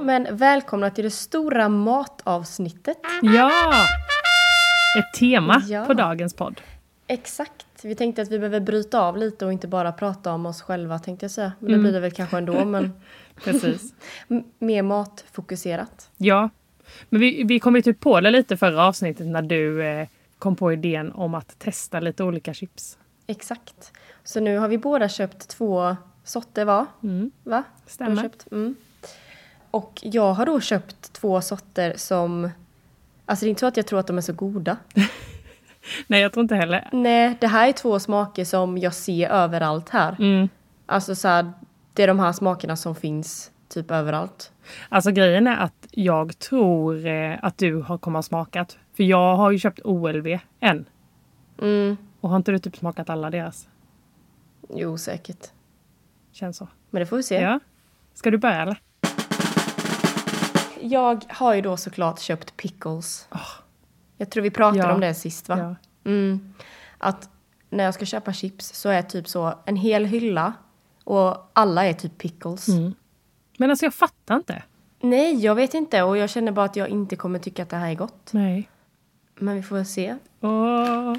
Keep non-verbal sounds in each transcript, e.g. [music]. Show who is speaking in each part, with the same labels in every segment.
Speaker 1: men välkomna till det stora matavsnittet.
Speaker 2: Ja! Ett tema
Speaker 1: Ja.
Speaker 2: på dagens podd.
Speaker 1: Exakt. Vi tänkte att vi behöver bryta av lite och inte bara prata om oss själva tänkte jag säga. Men
Speaker 2: Mm.
Speaker 1: det blir det väl kanske ändå, men
Speaker 2: Precis.
Speaker 1: m- mer matfokuserat.
Speaker 2: [laughs] Ja. Men vi, vi kom ju typ på det lite förra avsnittet när du eh, kom på idén om att testa lite olika chips.
Speaker 1: Exakt. Så nu har vi båda köpt två sorter var.
Speaker 2: Mm.
Speaker 1: Va? Du har
Speaker 2: Stämmer.
Speaker 1: Köpt? Mm. Och jag har då köpt två sorter som... Alltså det är inte så att jag tror att de är så goda.
Speaker 2: Nej, jag tror inte heller.
Speaker 1: Nej, det här är två smaker som jag ser överallt här.
Speaker 2: Mm.
Speaker 1: Alltså så här, det är de här smakerna som finns typ överallt.
Speaker 2: Alltså grejen är att jag tror eh, att du har kommer ha smakat. För jag har ju köpt OLV än.
Speaker 1: Mm,
Speaker 2: Och har inte du typ smakat alla deras?
Speaker 1: jo säkert.
Speaker 2: Känns så.
Speaker 1: Men det får vi se.
Speaker 2: Ja. Ska du börja eller?
Speaker 1: Jag har ju då såklart köpt pickles. Jag tror vi pratade
Speaker 2: Ah. Ja.
Speaker 1: om det sist va?
Speaker 2: Ja.
Speaker 1: Mm. Att när jag ska köpa chips så är typ så en hel hylla och alla är typ pickles.
Speaker 2: Mm. Men alltså jag fattar inte.
Speaker 1: Nej, jag vet inte och jag känner bara att jag inte kommer tycka att det här är gott.
Speaker 2: Nej.
Speaker 1: Men vi får väl se.
Speaker 2: Åh.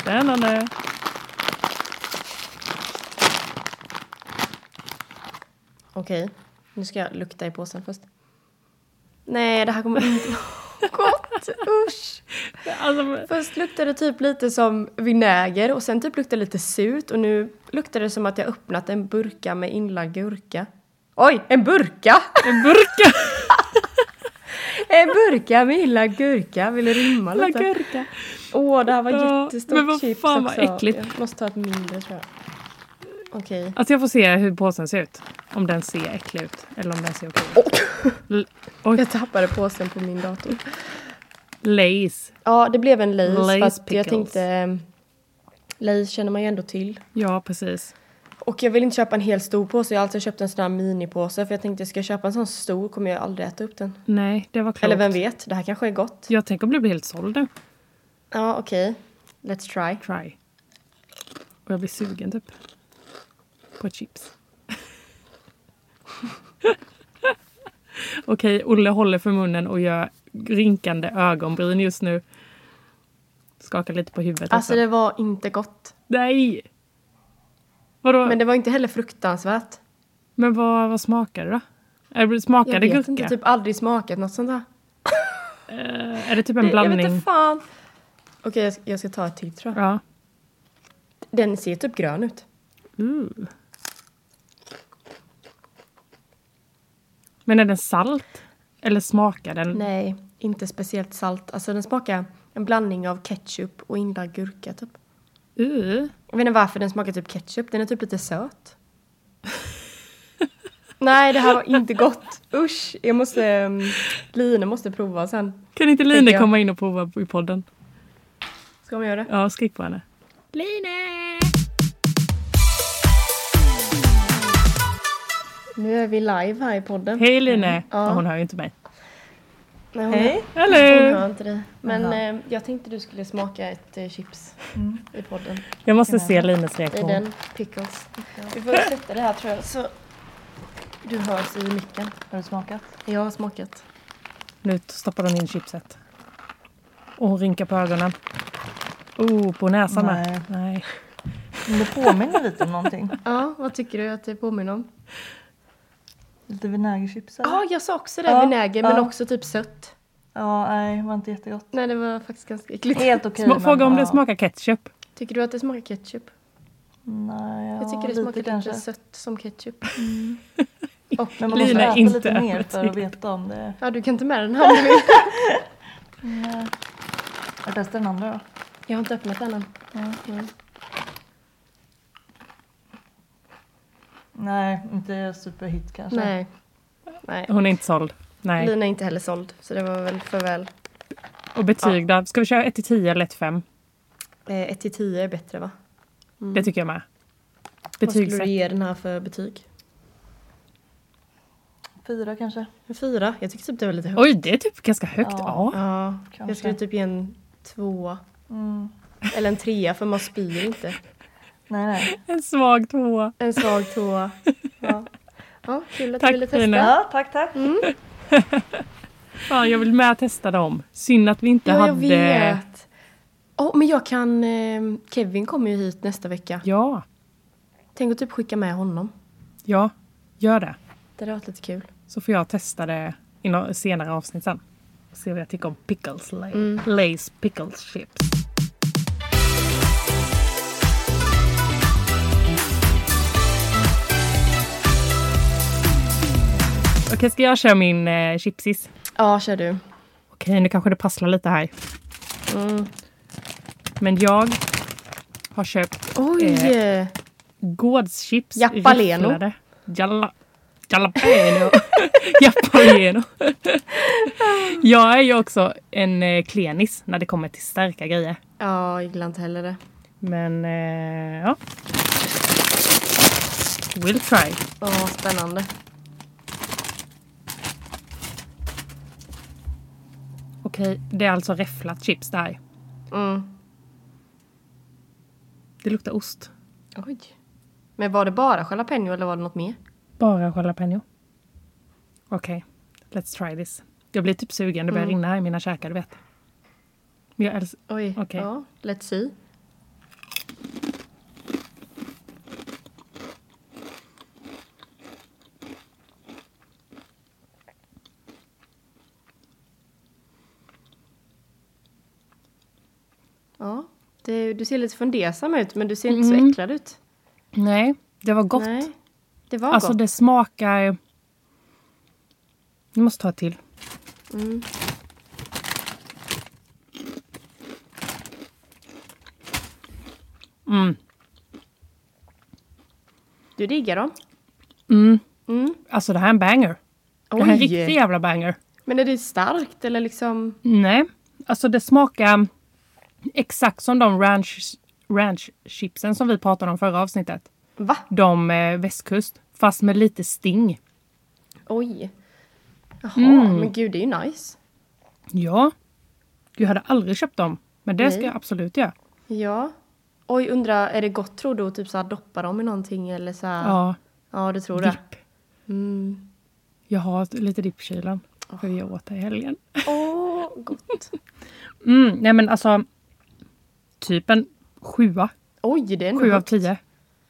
Speaker 2: Spännande.
Speaker 1: Okej, nu ska jag lukta i påsen först. Nej, det här kommer inte vara [laughs] gott. Usch!
Speaker 2: Alltså,
Speaker 1: Först luktade det typ lite som vinäger och sen typ luktade det lite surt och nu luktar det som att jag öppnat en burka med inlagd gurka. Oj, en
Speaker 2: [laughs]
Speaker 1: burka! [laughs]
Speaker 2: en burka.
Speaker 1: En burka med inlagd gurka. Vill du rimma
Speaker 2: La
Speaker 1: lite?
Speaker 2: gurka.
Speaker 1: Åh, det här var
Speaker 2: Ja,
Speaker 1: jättestort
Speaker 2: men vad
Speaker 1: chips
Speaker 2: fan, vad
Speaker 1: också.
Speaker 2: äckligt.
Speaker 1: Jag måste ta ett mindre tror jag. Okej.
Speaker 2: Alltså jag får se hur påsen ser ut. Om den ser äcklig ut. Eller om den ser okej
Speaker 1: [laughs]
Speaker 2: ut. Oh.
Speaker 1: Jag tappade påsen på min dator.
Speaker 2: Lays.
Speaker 1: Ja, det blev en Lays.
Speaker 2: Lay's
Speaker 1: för att jag
Speaker 2: pickles.
Speaker 1: tänkte... eh, Lays känner man ju ändå till.
Speaker 2: Ja, precis.
Speaker 1: Och jag vill inte köpa en hel stor påse. Jag har alltså köpt en sån här minipåse. För jag tänkte, ska jag köpa en sån stor kommer jag aldrig äta upp den.
Speaker 2: Nej, det var klokt.
Speaker 1: Eller vem vet, det här kanske är gott.
Speaker 2: Jag tänker om du blir helt såld nu.
Speaker 1: Ja, okej. Let's try.
Speaker 2: Try. Och jag blir sugen typ. På chips. [laughs] Okej, Olle håller för munnen och gör rynkande ögonbryn just nu. Skakar lite på huvudet.
Speaker 1: Alltså
Speaker 2: också.
Speaker 1: det var inte gott.
Speaker 2: Nej! Vadå?
Speaker 1: Men
Speaker 2: Men,
Speaker 1: det var inte heller fruktansvärt.
Speaker 2: vad, vad smakar det då? Är det-
Speaker 1: Jag
Speaker 2: Smakar det
Speaker 1: vet
Speaker 2: gurka?
Speaker 1: inte, typ aldrig smakat något sånt där.
Speaker 2: Eh, Är det typ en
Speaker 1: Det-
Speaker 2: blandning?
Speaker 1: Jag vet inte fan. Okej, jag ska- jag ska ta ett till tror jag.
Speaker 2: Ja.
Speaker 1: Den ser typ grön ut.
Speaker 2: Ooh. Men är den salt? Eller smakar den?
Speaker 1: Nej, inte speciellt salt. Alltså den smakar en blandning av ketchup och inlagd gurka typ.
Speaker 2: Uh.
Speaker 1: Jag vet inte varför den smakar typ ketchup, den är typ lite söt. [laughs] Nej, det här var inte gott. Usch, jag måste... Um, Lina måste prova sen.
Speaker 2: Kan inte
Speaker 1: Tänker
Speaker 2: Line
Speaker 1: jag.
Speaker 2: komma in och prova i podden?
Speaker 1: Ska man göra det?
Speaker 2: Ja, skrik på henne. Line!
Speaker 1: Nu är vi live här i podden.
Speaker 2: Hej Line!
Speaker 1: Ja.
Speaker 2: Ja. Hon hör ju inte mig.
Speaker 1: Nej, hon,
Speaker 3: Hej.
Speaker 1: hon
Speaker 2: Eller
Speaker 1: hör inte dig. Men eh, jag tänkte du skulle smaka ett eh, chips i podden.
Speaker 2: Jag måste se Lines
Speaker 1: I
Speaker 2: reaktion.
Speaker 1: den, pickles. Vi får sätta det här tror jag, så du hörs i micken.
Speaker 3: Har du smakat?
Speaker 1: Jag har smakat.
Speaker 2: Nu stoppar hon in chipset. Och hon rynkar på ögonen. Oh, på näsan med. Nej.
Speaker 3: Men Det påminner lite om någonting.
Speaker 1: Ja, vad tycker du att det påminner om?
Speaker 3: Lite vinägerchips eller?
Speaker 1: Ja, jag sa också det,
Speaker 3: Ja,
Speaker 1: vinäger, men
Speaker 3: ja.
Speaker 1: också typ sött.
Speaker 3: Ja, nej, det var inte jättegott.
Speaker 1: Nej, det var faktiskt ganska äckligt.
Speaker 3: Helt okej.
Speaker 2: Sma-
Speaker 3: men,
Speaker 2: Fråga om
Speaker 3: ja.
Speaker 2: det smakar ketchup.
Speaker 1: Tycker du att det smakar ketchup?
Speaker 3: Nej, ja,
Speaker 1: jag tycker det
Speaker 3: lite
Speaker 1: smakar lite
Speaker 3: kanske.
Speaker 1: Mm. sött som ketchup. [laughs]
Speaker 3: Men man måste
Speaker 2: Lina är typ-
Speaker 3: äta
Speaker 2: inte
Speaker 3: lite mer för
Speaker 2: övertygad.
Speaker 3: att veta om det är...
Speaker 1: Ja, du kan ta med den här nu.
Speaker 3: Nej. Jag testar den andra då.
Speaker 1: [laughs] Jag har inte öppnat den än. Mm.
Speaker 3: Nej, inte superhit kanske.
Speaker 1: Nej. Nej.
Speaker 2: Hon är inte såld. Nej.
Speaker 1: Lina är inte heller såld, så det var väl för väl.
Speaker 2: Och betyg då? Ska vi köra 1 till 10 eller 1 till 5?
Speaker 1: 1 Eh, till 10 är bättre va? Mm.
Speaker 2: Det tycker jag med.
Speaker 1: Vad skulle
Speaker 2: Betygsätt.
Speaker 1: du ge den här för betyg?
Speaker 3: Fyra kanske.
Speaker 1: En fyra? Jag tyckte typ det var lite högt.
Speaker 2: Oj, det är typ ganska högt.
Speaker 3: Ja.
Speaker 2: Ja.
Speaker 1: Ja,
Speaker 3: Kanske.
Speaker 1: jag skulle typ ge en tvåa.
Speaker 3: Mm.
Speaker 1: Eller en trea, för man spyr inte.
Speaker 3: Nej, nej.
Speaker 2: En svag tvåa. [laughs]
Speaker 1: En svag tvåa. Ja. Ja, kul att
Speaker 2: Tack,
Speaker 1: du ville testa.
Speaker 2: Tina.
Speaker 3: Ja, tack, tack.
Speaker 2: Fan, jag vill med testa dem. Synd att vi inte
Speaker 1: Ja,
Speaker 2: hade...
Speaker 1: jag vet. Oh, men jag kan... Eh, Kevin kommer ju hit nästa vecka.
Speaker 2: Ja,
Speaker 1: Tänk att typ skicka med honom.
Speaker 2: ja. Gör det.
Speaker 1: Det hade varit lite kul.
Speaker 2: Så får jag testa det i några senare avsnitt sen. Och se vad jag tycker om pickles. Lay, Lays pickles chips. Okej, ska jag köra min eh, chipsis?
Speaker 1: Ja, kör du.
Speaker 2: Okej, nu kanske det prasslar lite här. Men jag har köpt
Speaker 1: Oj! Eh.
Speaker 2: gårdschips.
Speaker 1: Japaleno.
Speaker 2: rifflade. Jalla, jalapeno. [laughs] Japaleno. [laughs] jag är ju också en eh, klenis när det kommer till starka grejer.
Speaker 1: Ja, jag gillar inte heller det.
Speaker 2: Men eh, ja. We'll try.
Speaker 1: Åh, spännande.
Speaker 2: Okej, det är alltså räfflat chips det här.
Speaker 1: Mm.
Speaker 2: Det luktar ost.
Speaker 1: Oj. Men var det bara jalapeno eller var det något mer?
Speaker 2: Bara jalapeno. Okej, let's try this. Jag blir typ sugen, det börjar rinna här i mina käkar, du vet. Men jag älskar...
Speaker 1: Oj.
Speaker 2: Okej.
Speaker 1: Ja, let's see. Ja, det, du ser lite fundersam ut men du ser inte så äcklad ut.
Speaker 2: Nej, det var Mm. gott.
Speaker 1: Nej, det var
Speaker 2: Alltså
Speaker 1: gott.
Speaker 2: det smakar... Jag måste ta ett till. Mm.
Speaker 1: Du diggar dem?
Speaker 2: Mm.
Speaker 1: Mm.
Speaker 2: Alltså det här är en banger. Det här är en riktig jävla banger.
Speaker 1: Men är det starkt eller liksom?
Speaker 2: Nej. Alltså det smakar exakt som de ranch, ranch chipsen som vi pratade om förra avsnittet.
Speaker 1: Va?
Speaker 2: De eh, västkust. Fast med lite sting.
Speaker 1: Oj. Jaha,
Speaker 2: Mm.
Speaker 1: men gud det är ju nice.
Speaker 2: Ja. Jag hade aldrig köpt dem. Men det ska
Speaker 1: Nej.
Speaker 2: jag absolut göra.
Speaker 1: Ja. Oj, undra, är det gott tror du att typ så här doppa dem i någonting eller så här?
Speaker 2: Ja.
Speaker 1: Ja, det tror
Speaker 2: [laughs]
Speaker 1: jag.
Speaker 2: Dipp.
Speaker 1: Mm.
Speaker 2: Jag har lite dipp i kylen. För vi åt det i helgen.
Speaker 1: Åh, gott.
Speaker 2: Mm, nej men alltså. Typ en sjua.
Speaker 1: Oj, det är ändå
Speaker 2: Sju av
Speaker 1: gott.
Speaker 2: tio.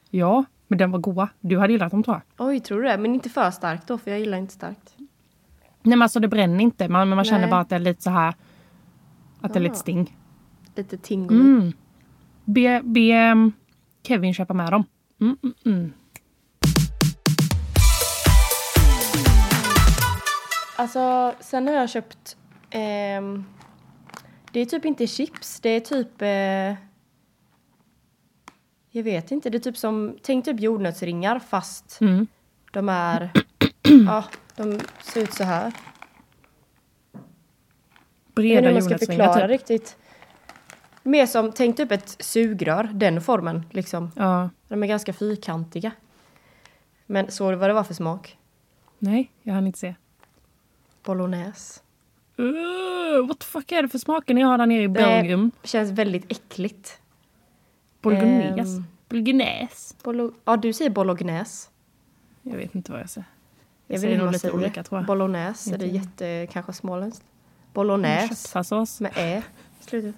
Speaker 2: Ja, men den var goa. Du hade gillat dem tror jag.
Speaker 1: Oj, tror du det? Men inte för starkt då, för jag gillar inte starkt.
Speaker 2: Nej men alltså det bränner inte. Man, men man känner
Speaker 1: Nej.
Speaker 2: bara att det är lite så här. Att det är lite
Speaker 1: Ah.
Speaker 2: sting.
Speaker 1: Lite tingo.
Speaker 2: Mm. Be, be ehm, Kevin köpa med dem. Mm, mm, mm.
Speaker 1: Alltså, sen har jag köpt... ehm, det är typ inte chips, det är typ... Eh, jag vet inte, det är typ som... Tänk typ jordnötsringar fast
Speaker 2: Mm.
Speaker 1: de
Speaker 2: [clears throat]
Speaker 1: är... ja, de ser ut så här. Jag vet
Speaker 2: Breda
Speaker 1: inte hur man ska
Speaker 2: jordnötsringar
Speaker 1: förklara
Speaker 2: typ.
Speaker 1: riktigt. Mer som, tänk typ ett sugrör, den formen liksom.
Speaker 2: Ja.
Speaker 1: De är ganska fyrkantiga. Men såg du vad det var för smak?
Speaker 2: Nej, jag hann inte se.
Speaker 1: Bolognese.
Speaker 2: Uh, what the fuck är det för smaker ni har där nere i Belgium?
Speaker 1: Det känns väldigt äckligt.
Speaker 2: Bolognese?
Speaker 1: ehm.
Speaker 2: Bolognese?
Speaker 1: Bolo- ja, du säger bolognese.
Speaker 2: Jag vet inte vad jag säger.
Speaker 1: Jag
Speaker 2: Säger
Speaker 1: vet inte hur
Speaker 2: nog
Speaker 1: man
Speaker 2: lite
Speaker 1: säger.
Speaker 2: olika, tror jag.
Speaker 1: Bolognese, är det
Speaker 2: Inte.
Speaker 1: jätte, kanske småländskt? Bolognese
Speaker 2: Köttfärssås?
Speaker 1: med ä i slutet.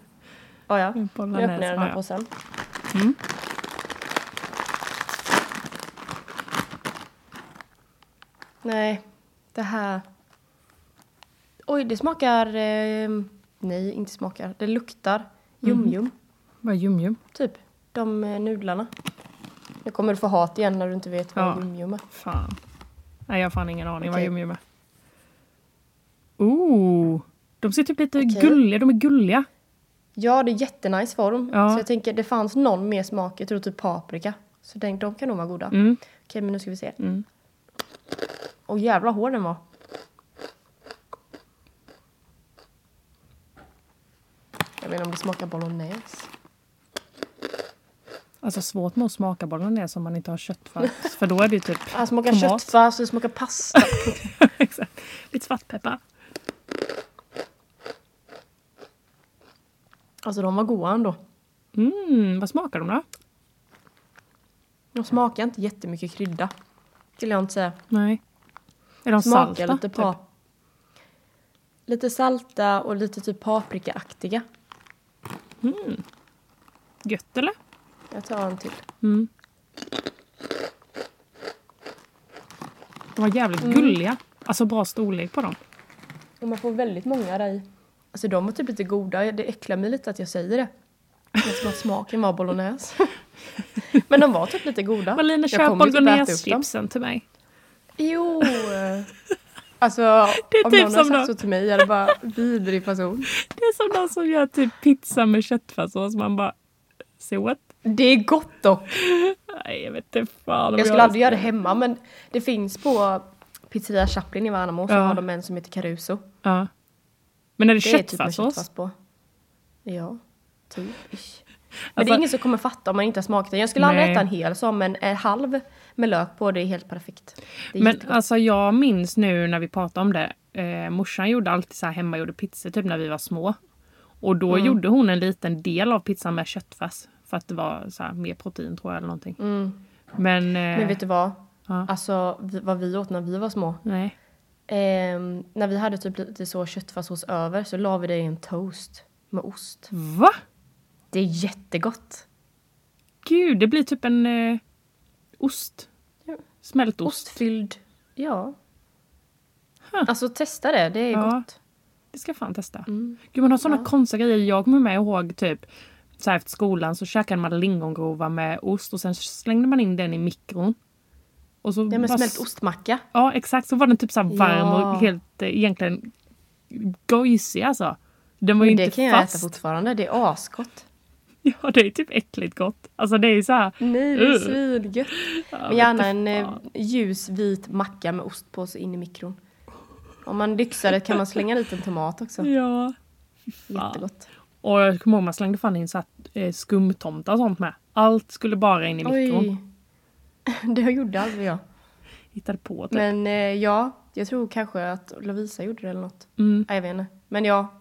Speaker 1: Ja, ja. Nu öppnar
Speaker 2: Bolognese,
Speaker 1: jag den här
Speaker 2: ja, Mm. ja.
Speaker 1: påsen. Nej, det här... Oj, det smakar... Eh, nej, inte smakar. Det luktar
Speaker 2: Mm.
Speaker 1: jum-jum,
Speaker 2: Vad är jum-jum?
Speaker 1: typ. De eh, nudlarna. Nu kommer du få hat igen när du inte vet vad
Speaker 2: Ja.
Speaker 1: jum-jum är.
Speaker 2: Fan. Nej, jag har fan ingen aning vad
Speaker 1: Okej.
Speaker 2: yum-yum är. Oh! De ser typ lite
Speaker 1: Okej.
Speaker 2: gulliga, de är gulliga.
Speaker 1: Ja, det är jättenice form.
Speaker 2: Ja.
Speaker 1: Så jag tänker, det fanns någon mer smak. Jag tror typ paprika. Så den, de kan nog vara goda.
Speaker 2: Mm.
Speaker 1: Okej, men nu ska vi se.
Speaker 2: Mm.
Speaker 1: Åh jävla hård den var. Jag vet inte om det smakar bolognese.
Speaker 2: Alltså svårt med att smaka bolognese som man inte
Speaker 1: [laughs]
Speaker 2: har köttfärs. För då är det ju typ
Speaker 1: Ah, det smakar
Speaker 2: Tomat.
Speaker 1: köttfärs, det smakar pasta.
Speaker 2: [laughs]
Speaker 1: [laughs]
Speaker 2: Exakt. lite svartpeppar.
Speaker 1: Alltså de var goda ändå.
Speaker 2: Mm, vad smakar de då?
Speaker 1: De smakar inte jättemycket krydda. skulle jag inte säga.
Speaker 2: Nej. Är de
Speaker 1: Smakar
Speaker 2: salta?
Speaker 1: lite
Speaker 2: typ?
Speaker 1: pap... Lite salta och lite typ paprikaaktiga.
Speaker 2: Typ Gött eller?
Speaker 1: Jag tar en till.
Speaker 2: Mm. De var jävligt
Speaker 1: Mm.
Speaker 2: gulliga. Alltså bra storlek på dem.
Speaker 1: Och man får väldigt många där i. Alltså de var typ lite goda. Det äcklar mig lite att jag säger det. Men som att smaken var bolognese. [laughs] Men de var typ lite goda.
Speaker 2: Malina,
Speaker 1: Jag
Speaker 2: köp
Speaker 1: kommer ju typ äta upp dem.
Speaker 2: bolognese-chipsen till mig.
Speaker 1: Jo! Alltså det
Speaker 2: är
Speaker 1: om
Speaker 2: typ
Speaker 1: någon har
Speaker 2: som
Speaker 1: sagt
Speaker 2: de-
Speaker 1: så till mig, jag hade bara vidrig person.
Speaker 2: Det är som de som gör typ pizza med köttfärssås. Man bara... So what?
Speaker 1: Det är gott dock.
Speaker 2: Nej, jag vet inte fan om
Speaker 1: Jag skulle aldrig göra det hemma men det finns på Pizzeria Chaplin i Värnamo så
Speaker 2: Ja.
Speaker 1: har de en som heter Caruso.
Speaker 2: Ja. Men är det,
Speaker 1: Det är typ med
Speaker 2: köttfärssås?
Speaker 1: köttfärs på. Ja, typ. ish. Men det
Speaker 2: Alltså-
Speaker 1: är ingen som kommer fatta om man inte har smakat den. Jag skulle aldrig
Speaker 2: Nej.
Speaker 1: äta en hel som men en halv med lök på det är helt perfekt. Det är
Speaker 2: Men
Speaker 1: jättegott.
Speaker 2: alltså jag minns nu när vi pratade om det. Eh, morsan gjorde alltid så här hemmagjorda pizzor typ när vi var små. Och då
Speaker 1: Mm.
Speaker 2: gjorde hon en liten del av pizzan med köttfärs. För att det var så här, mer protein tror jag eller någonting. Men, eh,
Speaker 1: Mm. Men vet du vad?
Speaker 2: Ja.
Speaker 1: Alltså vi, vad vi åt när vi var små.
Speaker 2: Nej.
Speaker 1: Ehm, när vi hade typ lite så köttfärssås över så la vi det i en toast med ost.
Speaker 2: Va?
Speaker 1: Det är jättegott.
Speaker 2: Gud, det blir typ en eh, ost.
Speaker 1: Ja.
Speaker 2: Smältost.
Speaker 1: Ostfylld. Ja.
Speaker 2: Huh.
Speaker 1: Alltså testa det, det är
Speaker 2: Ja.
Speaker 1: gott.
Speaker 2: Det ska jag fan testa.
Speaker 1: Mm.
Speaker 2: Gud, man har såna konstiga grejer. Jag kommer med ihåg typ så här efter skolan så käkade man lingongrova med ost och sen slängde man in den i mikron. Och så
Speaker 1: Ja men
Speaker 2: bara
Speaker 1: smält ostmacka.
Speaker 2: Ja, exakt. Så var den typ så här varm
Speaker 1: Ja.
Speaker 2: och helt eh, egentligen gojsig alltså. Den var ju
Speaker 1: Men det
Speaker 2: inte
Speaker 1: kan jag
Speaker 2: fast.
Speaker 1: äta fortfarande, det är asgott.
Speaker 2: [laughs] ja, det är typ äckligt gott. Alltså det är ju så här.
Speaker 1: Nej, det är
Speaker 2: Ugh.
Speaker 1: svingött.
Speaker 2: Uh. ja,
Speaker 1: Men
Speaker 2: vet
Speaker 1: gärna
Speaker 2: du
Speaker 1: en eh,
Speaker 2: fan.
Speaker 1: ljus vit macka med ost på sig in i mikron. Om man lyxar det kan man slänga dit en tomat också.
Speaker 2: Ja.
Speaker 1: Jättegott.
Speaker 2: Och jag kommer ihåg man slängde fan in så här, eh, skumtomtar och sånt med. Allt skulle bara in i mikron.
Speaker 1: Oj. [laughs] Det gjorde aldrig jag.
Speaker 2: Hittade på typ.
Speaker 1: Men eh, ja, jag tror kanske att Lovisa gjorde det eller något.
Speaker 2: Mm.
Speaker 1: Nej, Jag vet inte. Men ja,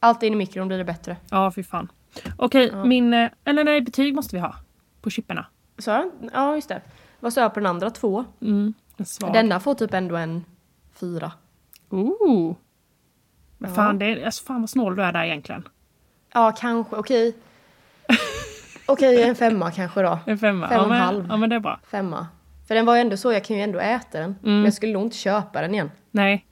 Speaker 1: allt in i mikron blir det bättre.
Speaker 2: Ja, fy fan. Okej, min... eh, Eller nej, betyg måste vi ha. På chipperna.
Speaker 1: Så, jag? ja, just det. Vad sa jag på den andra? Två?
Speaker 2: Mm. En svag.
Speaker 1: Denna får typ ändå en fyra.
Speaker 2: Ooh. Men
Speaker 1: Ja.
Speaker 2: fan, det är, alltså, fan vad snål du är där egentligen.
Speaker 1: Ja, kanske.
Speaker 2: [laughs]
Speaker 1: Okej. Okej, en femma kanske då.
Speaker 2: En femma.
Speaker 1: Fem och
Speaker 2: ja,
Speaker 1: en
Speaker 2: men,
Speaker 1: halv.
Speaker 2: Ja, men det är bra.
Speaker 1: Femma. För den var ju ändå så, jag kan ju ändå äta den. Men jag skulle nog inte köpa den igen.
Speaker 2: Nej.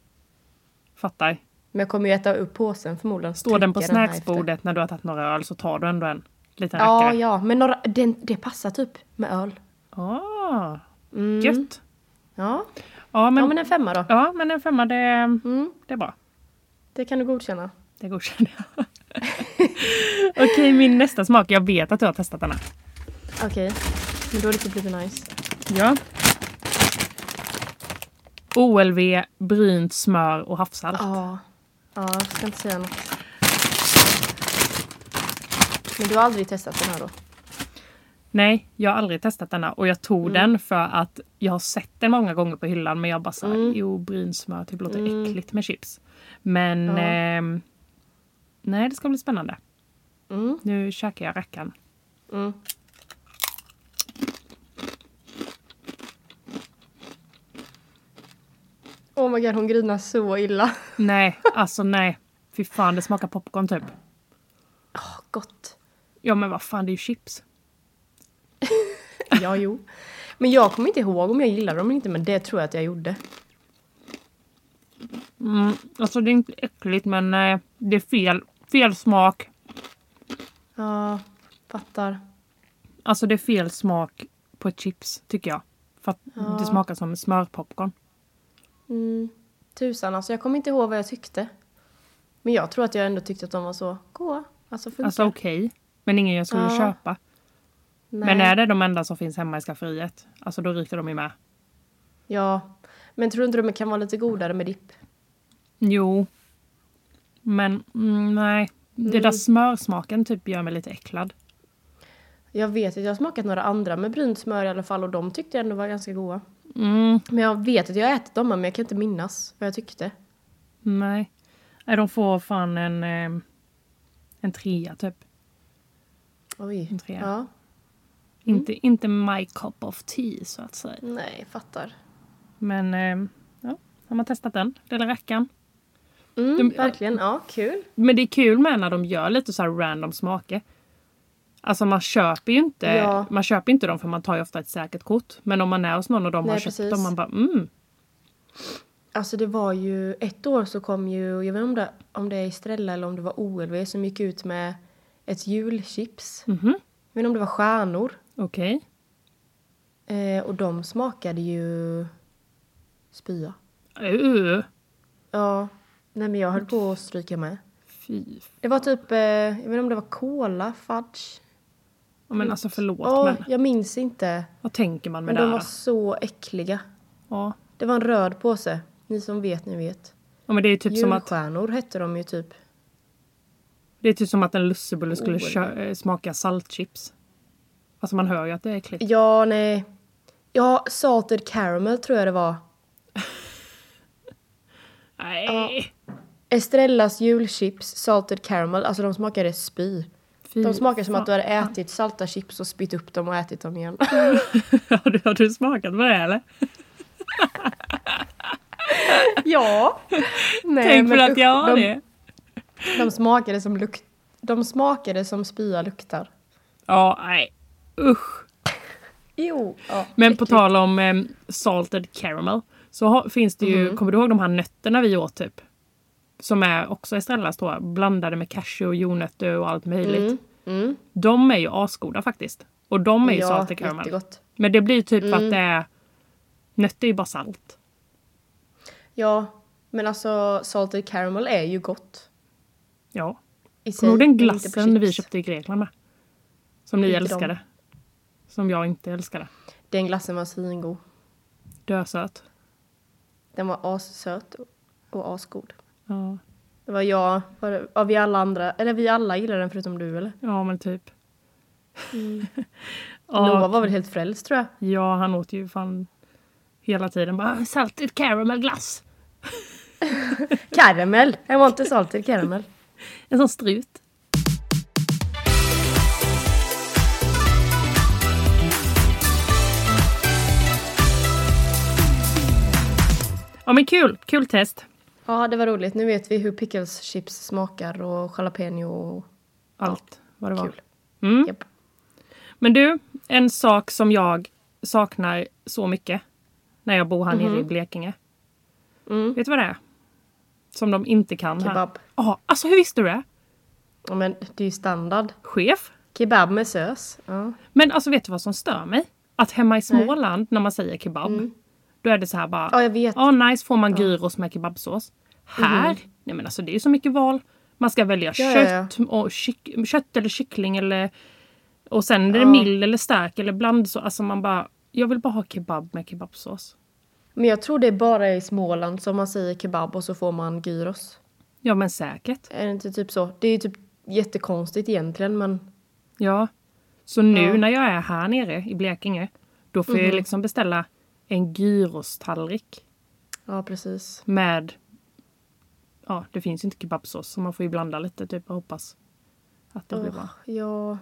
Speaker 2: Fattar.
Speaker 1: Men jag kommer ju äta upp påsen förmodligen.
Speaker 2: Står den på
Speaker 1: Trycka här efter.
Speaker 2: snacksbordet när du har tagit några öl så tar du ändå en liten
Speaker 1: Ja,
Speaker 2: rackare.
Speaker 1: ja. Men några, den, det passar typ med öl.
Speaker 2: Ah,
Speaker 1: Mm.
Speaker 2: gött.
Speaker 1: Ja.
Speaker 2: Ja men,
Speaker 1: ja, men en femma då.
Speaker 2: en femma det,
Speaker 1: Mm,
Speaker 2: det är bra.
Speaker 1: det kan du godkänna.
Speaker 2: Det godkänner jag. [laughs] Okej, min nästa smak. Jag vet att du har testat denna.
Speaker 1: Okej. Men då är det typ lite nice.
Speaker 2: Ja. OLV, brynt smör och havssalt.
Speaker 1: Ja. Ja, jag ska inte säga något. Men du har aldrig testat den här då?
Speaker 2: Nej, jag har aldrig testat denna och jag
Speaker 1: Mm.
Speaker 2: tog den för att jag har sett den många gånger på hyllan men jag bara såhär,
Speaker 1: Mm.
Speaker 2: jo brynsmör typ låter äckligt med chips. Men
Speaker 1: Ja.
Speaker 2: ehm, nej, det ska bli spännande.
Speaker 1: Mm.
Speaker 2: Nu käkar jag rackarn.
Speaker 1: Mm. Oh my god, hon grinar så illa.
Speaker 2: Nej, alltså nej. Fy fan, det smakar popcorn typ.
Speaker 1: Oh, gott.
Speaker 2: Ja men vad fan, det är ju chips.
Speaker 1: Ja, jo. Men jag kommer inte ihåg om jag gillade dem eller inte, men det tror jag att jag gjorde.
Speaker 2: Mm, alltså det är inte äckligt men eh, det är fel, fel smak.
Speaker 1: Ja, fattar.
Speaker 2: Alltså det är fel smak på ett chips tycker jag. För att det smakar som smörpopcorn.
Speaker 1: Mm. Tusan, alltså jag kommer inte ihåg vad jag tyckte. Men jag tror att jag ändå tyckte att de var så goa. Alltså funkar.
Speaker 2: Alltså okej. Men ingen jag skulle
Speaker 1: Ja.
Speaker 2: köpa.
Speaker 1: Nej.
Speaker 2: Men är det de enda som finns hemma i skafferiet, alltså då ryker de ju med.
Speaker 1: Ja. Men tror inte du de kan vara lite godare med dipp?
Speaker 2: Jo. Men mm, nej. Det där smörsmaken typ gör mig lite äcklad.
Speaker 1: Jag vet att jag har smakat några andra med brynt smör i alla fall och de tyckte jag ändå var ganska goda.
Speaker 2: Mm,
Speaker 1: Men jag vet att jag har ätit dem men jag kan inte minnas vad jag tyckte.
Speaker 2: nej. Nej, de får fan en, eh, en trea typ.
Speaker 1: Oj.
Speaker 2: En trea.
Speaker 1: Ja. Mm.
Speaker 2: Inte, inte my cup of tea så att säga.
Speaker 1: Nej, fattar.
Speaker 2: Men eh, ja, har man testat den lilla rackaren.
Speaker 1: Mm,
Speaker 2: De-
Speaker 1: verkligen, ja kul.
Speaker 2: Men det är kul med när de gör lite så här random smaker. Alltså man köper ju inte,
Speaker 1: Ja.
Speaker 2: man köper inte dem för man tar ju ofta ett säkert kort. Men om man är hos någon och de
Speaker 1: Nej,
Speaker 2: har köpt
Speaker 1: precis.
Speaker 2: dem man bara mm.
Speaker 1: Alltså det var ju, ett år så kom ju, jag vet inte om det, om det är Estrella eller om det var OLV som gick ut med ett julchips.
Speaker 2: Mhm.
Speaker 1: Jag vet inte om det var stjärnor.
Speaker 2: Okej.
Speaker 1: Eh, och de smakade ju spya.
Speaker 2: Uh,
Speaker 1: Ja, nej men jag höll på att stryka med.
Speaker 2: fy.
Speaker 1: Det var typ, eh, jag vet inte om det var cola, fudge.
Speaker 2: Ja, Men alltså förlåt
Speaker 1: Ja,
Speaker 2: men
Speaker 1: jag minns inte.
Speaker 2: vad tänker man med
Speaker 1: Men
Speaker 2: det
Speaker 1: de
Speaker 2: här?
Speaker 1: var
Speaker 2: då?
Speaker 1: så äckliga.
Speaker 2: Ja.
Speaker 1: Det var en röd påse. Ni som vet, ni vet.
Speaker 2: ja men det är ju typ som att
Speaker 1: Julstjärnor hette de ju typ.
Speaker 2: Det är typ som att en lussebulle skulle
Speaker 1: Oh.
Speaker 2: kö- eh, smaka saltchips. Alltså man hör ju att det är äckligt.
Speaker 1: Ja, nej. Ja, salted caramel tror jag det var.
Speaker 2: Nej!
Speaker 1: Estrellas julchips, salted caramel, alltså de smakade spy.
Speaker 2: Fy
Speaker 1: De smakar som
Speaker 2: Mm. fan.
Speaker 1: att du hade ätit salta chips och spytt upp dem och ätit dem igen.
Speaker 2: [laughs] har, du, har du smakat på det eller?
Speaker 1: ja! [laughs] Nej,
Speaker 2: Tänk
Speaker 1: men
Speaker 2: väl att
Speaker 1: usch,
Speaker 2: jag har
Speaker 1: de,
Speaker 2: det.
Speaker 1: De smakade som lukt... De smakade som spya luktar.
Speaker 2: Ja, nej. Usch.
Speaker 1: Jo! Ja,
Speaker 2: Men på tal om eh, salted caramel. Så har, finns det ju,
Speaker 1: Mm.
Speaker 2: kommer du ihåg de här nötterna vi åt typ? Som är också Estrellas då, blandade med cashew och jordnötter och allt möjligt.
Speaker 1: Mm, mm.
Speaker 2: De är ju asgoda faktiskt. Och de är ju
Speaker 1: ja,
Speaker 2: salted caramel.
Speaker 1: jättegott.
Speaker 2: Men det blir typ
Speaker 1: Mm.
Speaker 2: att det är... Nötter är ju bara salt.
Speaker 1: Ja, men alltså salted caramel är ju gott.
Speaker 2: Ja.
Speaker 1: I
Speaker 2: Kommer du ihåg
Speaker 1: sig,
Speaker 2: den
Speaker 1: men inte på
Speaker 2: glassen vi
Speaker 1: chips.
Speaker 2: köpte i Grekland med? Som ni
Speaker 1: Vilken?
Speaker 2: älskade. Som jag inte älskade.
Speaker 1: Den glassen var svingod.
Speaker 2: Dösöt.
Speaker 1: Den var assöt och- och asgod.
Speaker 2: Ja.
Speaker 1: Det var jag, var det, ja, vi alla andra, eller vi alla gillade den förutom du eller?
Speaker 2: ja, men typ.
Speaker 1: Mm.
Speaker 2: [laughs]
Speaker 1: Noah
Speaker 2: ja,
Speaker 1: var väl helt frälst tror jag.
Speaker 2: ja, han åt ju fan hela tiden bara salted caramel glass.
Speaker 1: Karamell! Jag var inte salted
Speaker 2: [laughs]
Speaker 1: karamell.
Speaker 2: En sån strut. Ja men kul, kul test.
Speaker 1: Ja, det var roligt. Nu vet vi hur pickles chips smakar och jalapeno och
Speaker 2: Allt vad det var.
Speaker 1: kul.
Speaker 2: Mm.
Speaker 1: Japp.
Speaker 2: Men du, en sak som jag saknar så mycket när jag bor här nere i Blekinge.
Speaker 1: Mhm. Mm.
Speaker 2: Vet du vad det är? Som de inte kan här.
Speaker 1: Kebab.
Speaker 2: Ja, alltså hur visste du det?
Speaker 1: Ja, men det är ju standard.
Speaker 2: Chef?
Speaker 1: Kebab med sös. Ja.
Speaker 2: Men alltså vet du vad som stör mig? Att hemma i Småland när man säger kebab, då är det så här bara...
Speaker 1: Mm. Ja, jag vet. Mhm.
Speaker 2: Ja, nice får man gyros med kebabsås. Här, nej men alltså det är ju så mycket val. Man ska välja
Speaker 1: Ja, ja, ja.
Speaker 2: kött, Och kyck, kött eller kyckling eller... Och sen är det mild eller stark eller blandsås. Alltså man bara... Jag vill bara ha kebab med kebabsås.
Speaker 1: Men jag tror det är bara i Småland som man säger kebab och så får man gyros.
Speaker 2: Ja men säkert.
Speaker 1: Är det inte typ så? Det är ju typ jättekonstigt egentligen men
Speaker 2: Ja. Så nu när jag är här nere i Blekinge, då får
Speaker 1: Mhm.
Speaker 2: jag liksom beställa en gyrostallrik.
Speaker 1: ja precis.
Speaker 2: med... Ja, det finns ju inte kebabsås så man får ju blanda lite typ och hoppas att det blir bra.
Speaker 1: Ja.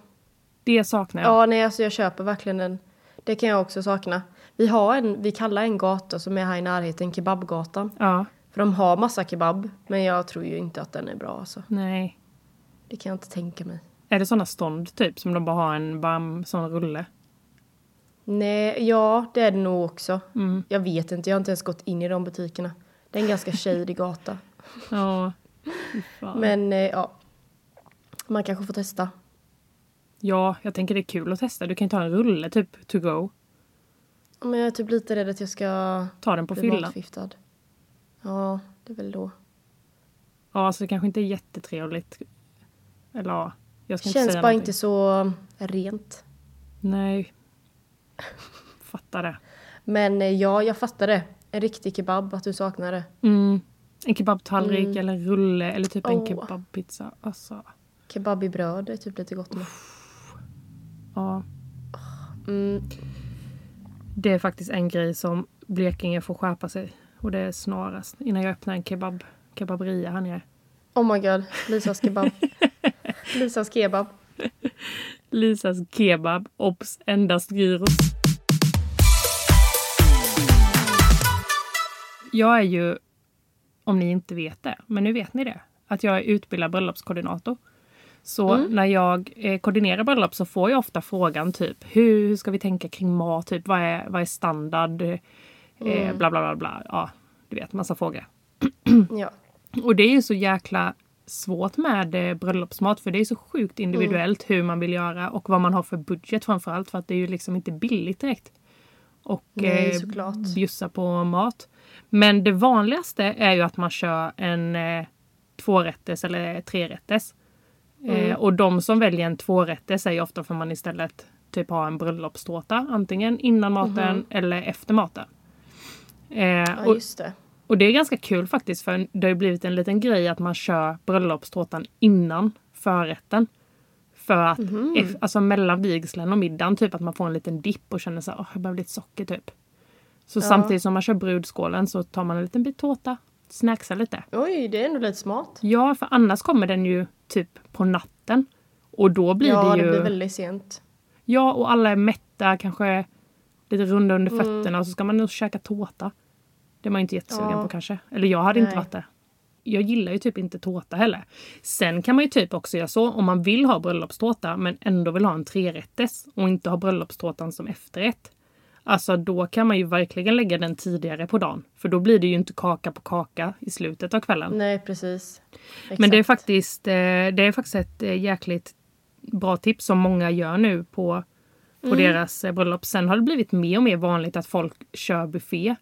Speaker 2: Det saknar jag.
Speaker 1: ja, nej alltså jag köper verkligen den. Det kan jag också sakna. Vi har en, vi kallar en gata som är här i närheten kebabgatan.
Speaker 2: Ja,
Speaker 1: För de har massa kebab men jag tror ju inte att den är bra alltså.
Speaker 2: nej.
Speaker 1: Det kan jag inte tänka mig.
Speaker 2: Är det såna stånd typ som de bara har en varm sån rulle?
Speaker 1: Nej, ja det är det nog också.
Speaker 2: Mm.
Speaker 1: Jag vet inte, jag har inte ens gått in i de butikerna. Det är en ganska shady gata.
Speaker 2: Ja. Fy fan.
Speaker 1: Men eh, ja, man kanske får testa.
Speaker 2: Ja, jag tänker det är kul att testa. Du kan ju ta en rulle typ to go.
Speaker 1: Ja, Men jag är typ lite rädd att jag ska
Speaker 2: Ta den på
Speaker 1: bli
Speaker 2: fyllan.
Speaker 1: matförgiftad. Ja, det är väl då.
Speaker 2: Ja, så det kanske inte är jättetrevligt. Eller ja, jag ska inte
Speaker 1: Känns
Speaker 2: säga
Speaker 1: bara
Speaker 2: någonting.
Speaker 1: inte så mm, rent.
Speaker 2: Nej. Fattar det.
Speaker 1: Men eh, ja, jag fattar det. En riktig kebab, att du saknar det.
Speaker 2: Mm. En kebabtallrik eller en rulle eller typ en
Speaker 1: Mm. Åh.
Speaker 2: kebabpizza. Alltså,
Speaker 1: Kebab i bröd är typ lite gott med.
Speaker 2: ja.
Speaker 1: Mm,
Speaker 2: Det är faktiskt en grej som Blekinge får skärpa sig. Och det är snarast. Innan jag öppnar en kebab, kebaberia här nere.
Speaker 1: oh my god, Lisas
Speaker 2: [laughs]
Speaker 1: kebab. Lisas kebab.
Speaker 2: Lisas kebab. Obs! Endast gyros. jag är ju, om ni inte vet det, men nu vet ni det, att jag är utbildad bröllopskoordinator. Så när jag eh, koordinerar bröllop så får jag ofta frågan typ hur, hur ska vi tänka kring mat, typ vad är, vad är standard, eh, bla bla bla bla. Ja, du vet, massa frågor.
Speaker 1: Ja.
Speaker 2: Och det är ju så jäkla svårt med eh, bröllopsmat för det är så sjukt
Speaker 1: Mm.
Speaker 2: individuellt hur man vill göra och vad man har för budget framförallt för att det är ju liksom inte billigt direkt. Och
Speaker 1: Nej,
Speaker 2: eh,
Speaker 1: såklart.
Speaker 2: bjussa på mat. Men det vanligaste är ju att man kör en eh, tvårättes eller trerättes.
Speaker 1: Mm.
Speaker 2: Eh, och de som väljer en tvårättes är ju ofta för man istället typ har en bröllopstårta antingen innan maten eller efter maten. Eh,
Speaker 1: Mhm. Ja,
Speaker 2: och,
Speaker 1: just det.
Speaker 2: och det är ganska kul faktiskt för det har ju blivit en liten grej att man kör bröllopstårtan innan förrätten. För att,
Speaker 1: Mhm.
Speaker 2: eff- alltså mellan vigseln och middagen, typ att man får en liten dipp och känner så här, "Åh, jag behöver lite socker typ. Så samtidigt som man kör brudskålen så tar man en liten bit tårta, snacksar lite.
Speaker 1: Oj, det är ändå lite smart.
Speaker 2: Ja, för annars kommer den ju typ på natten. Och då blir
Speaker 1: ja,
Speaker 2: Mm, det ju...
Speaker 1: det blir väldigt sent.
Speaker 2: Ja, och alla är mätta, kanske lite runda under
Speaker 1: Mm.
Speaker 2: fötterna och så ska man nog käka tårta. Det är man ju inte jättesugen
Speaker 1: Ja.
Speaker 2: på kanske. Eller jag hade inte
Speaker 1: Nej.
Speaker 2: varit det. Jag gillar ju typ inte tårta heller. Sen kan man ju typ också göra så om man vill ha bröllopstårta men ändå vill ha en trerättes och inte ha bröllopstårtan som efterrätt. Alltså då kan man ju verkligen lägga den tidigare på dagen. För då blir det ju inte kaka på kaka i slutet av kvällen.
Speaker 1: Nej, precis.
Speaker 2: Men det är
Speaker 1: Exakt.
Speaker 2: faktiskt, eh, det är faktiskt ett eh, jäkligt bra tips som många gör nu på, på deras eh, bröllop. Sen har det blivit mer och mer vanligt att folk kör buffé.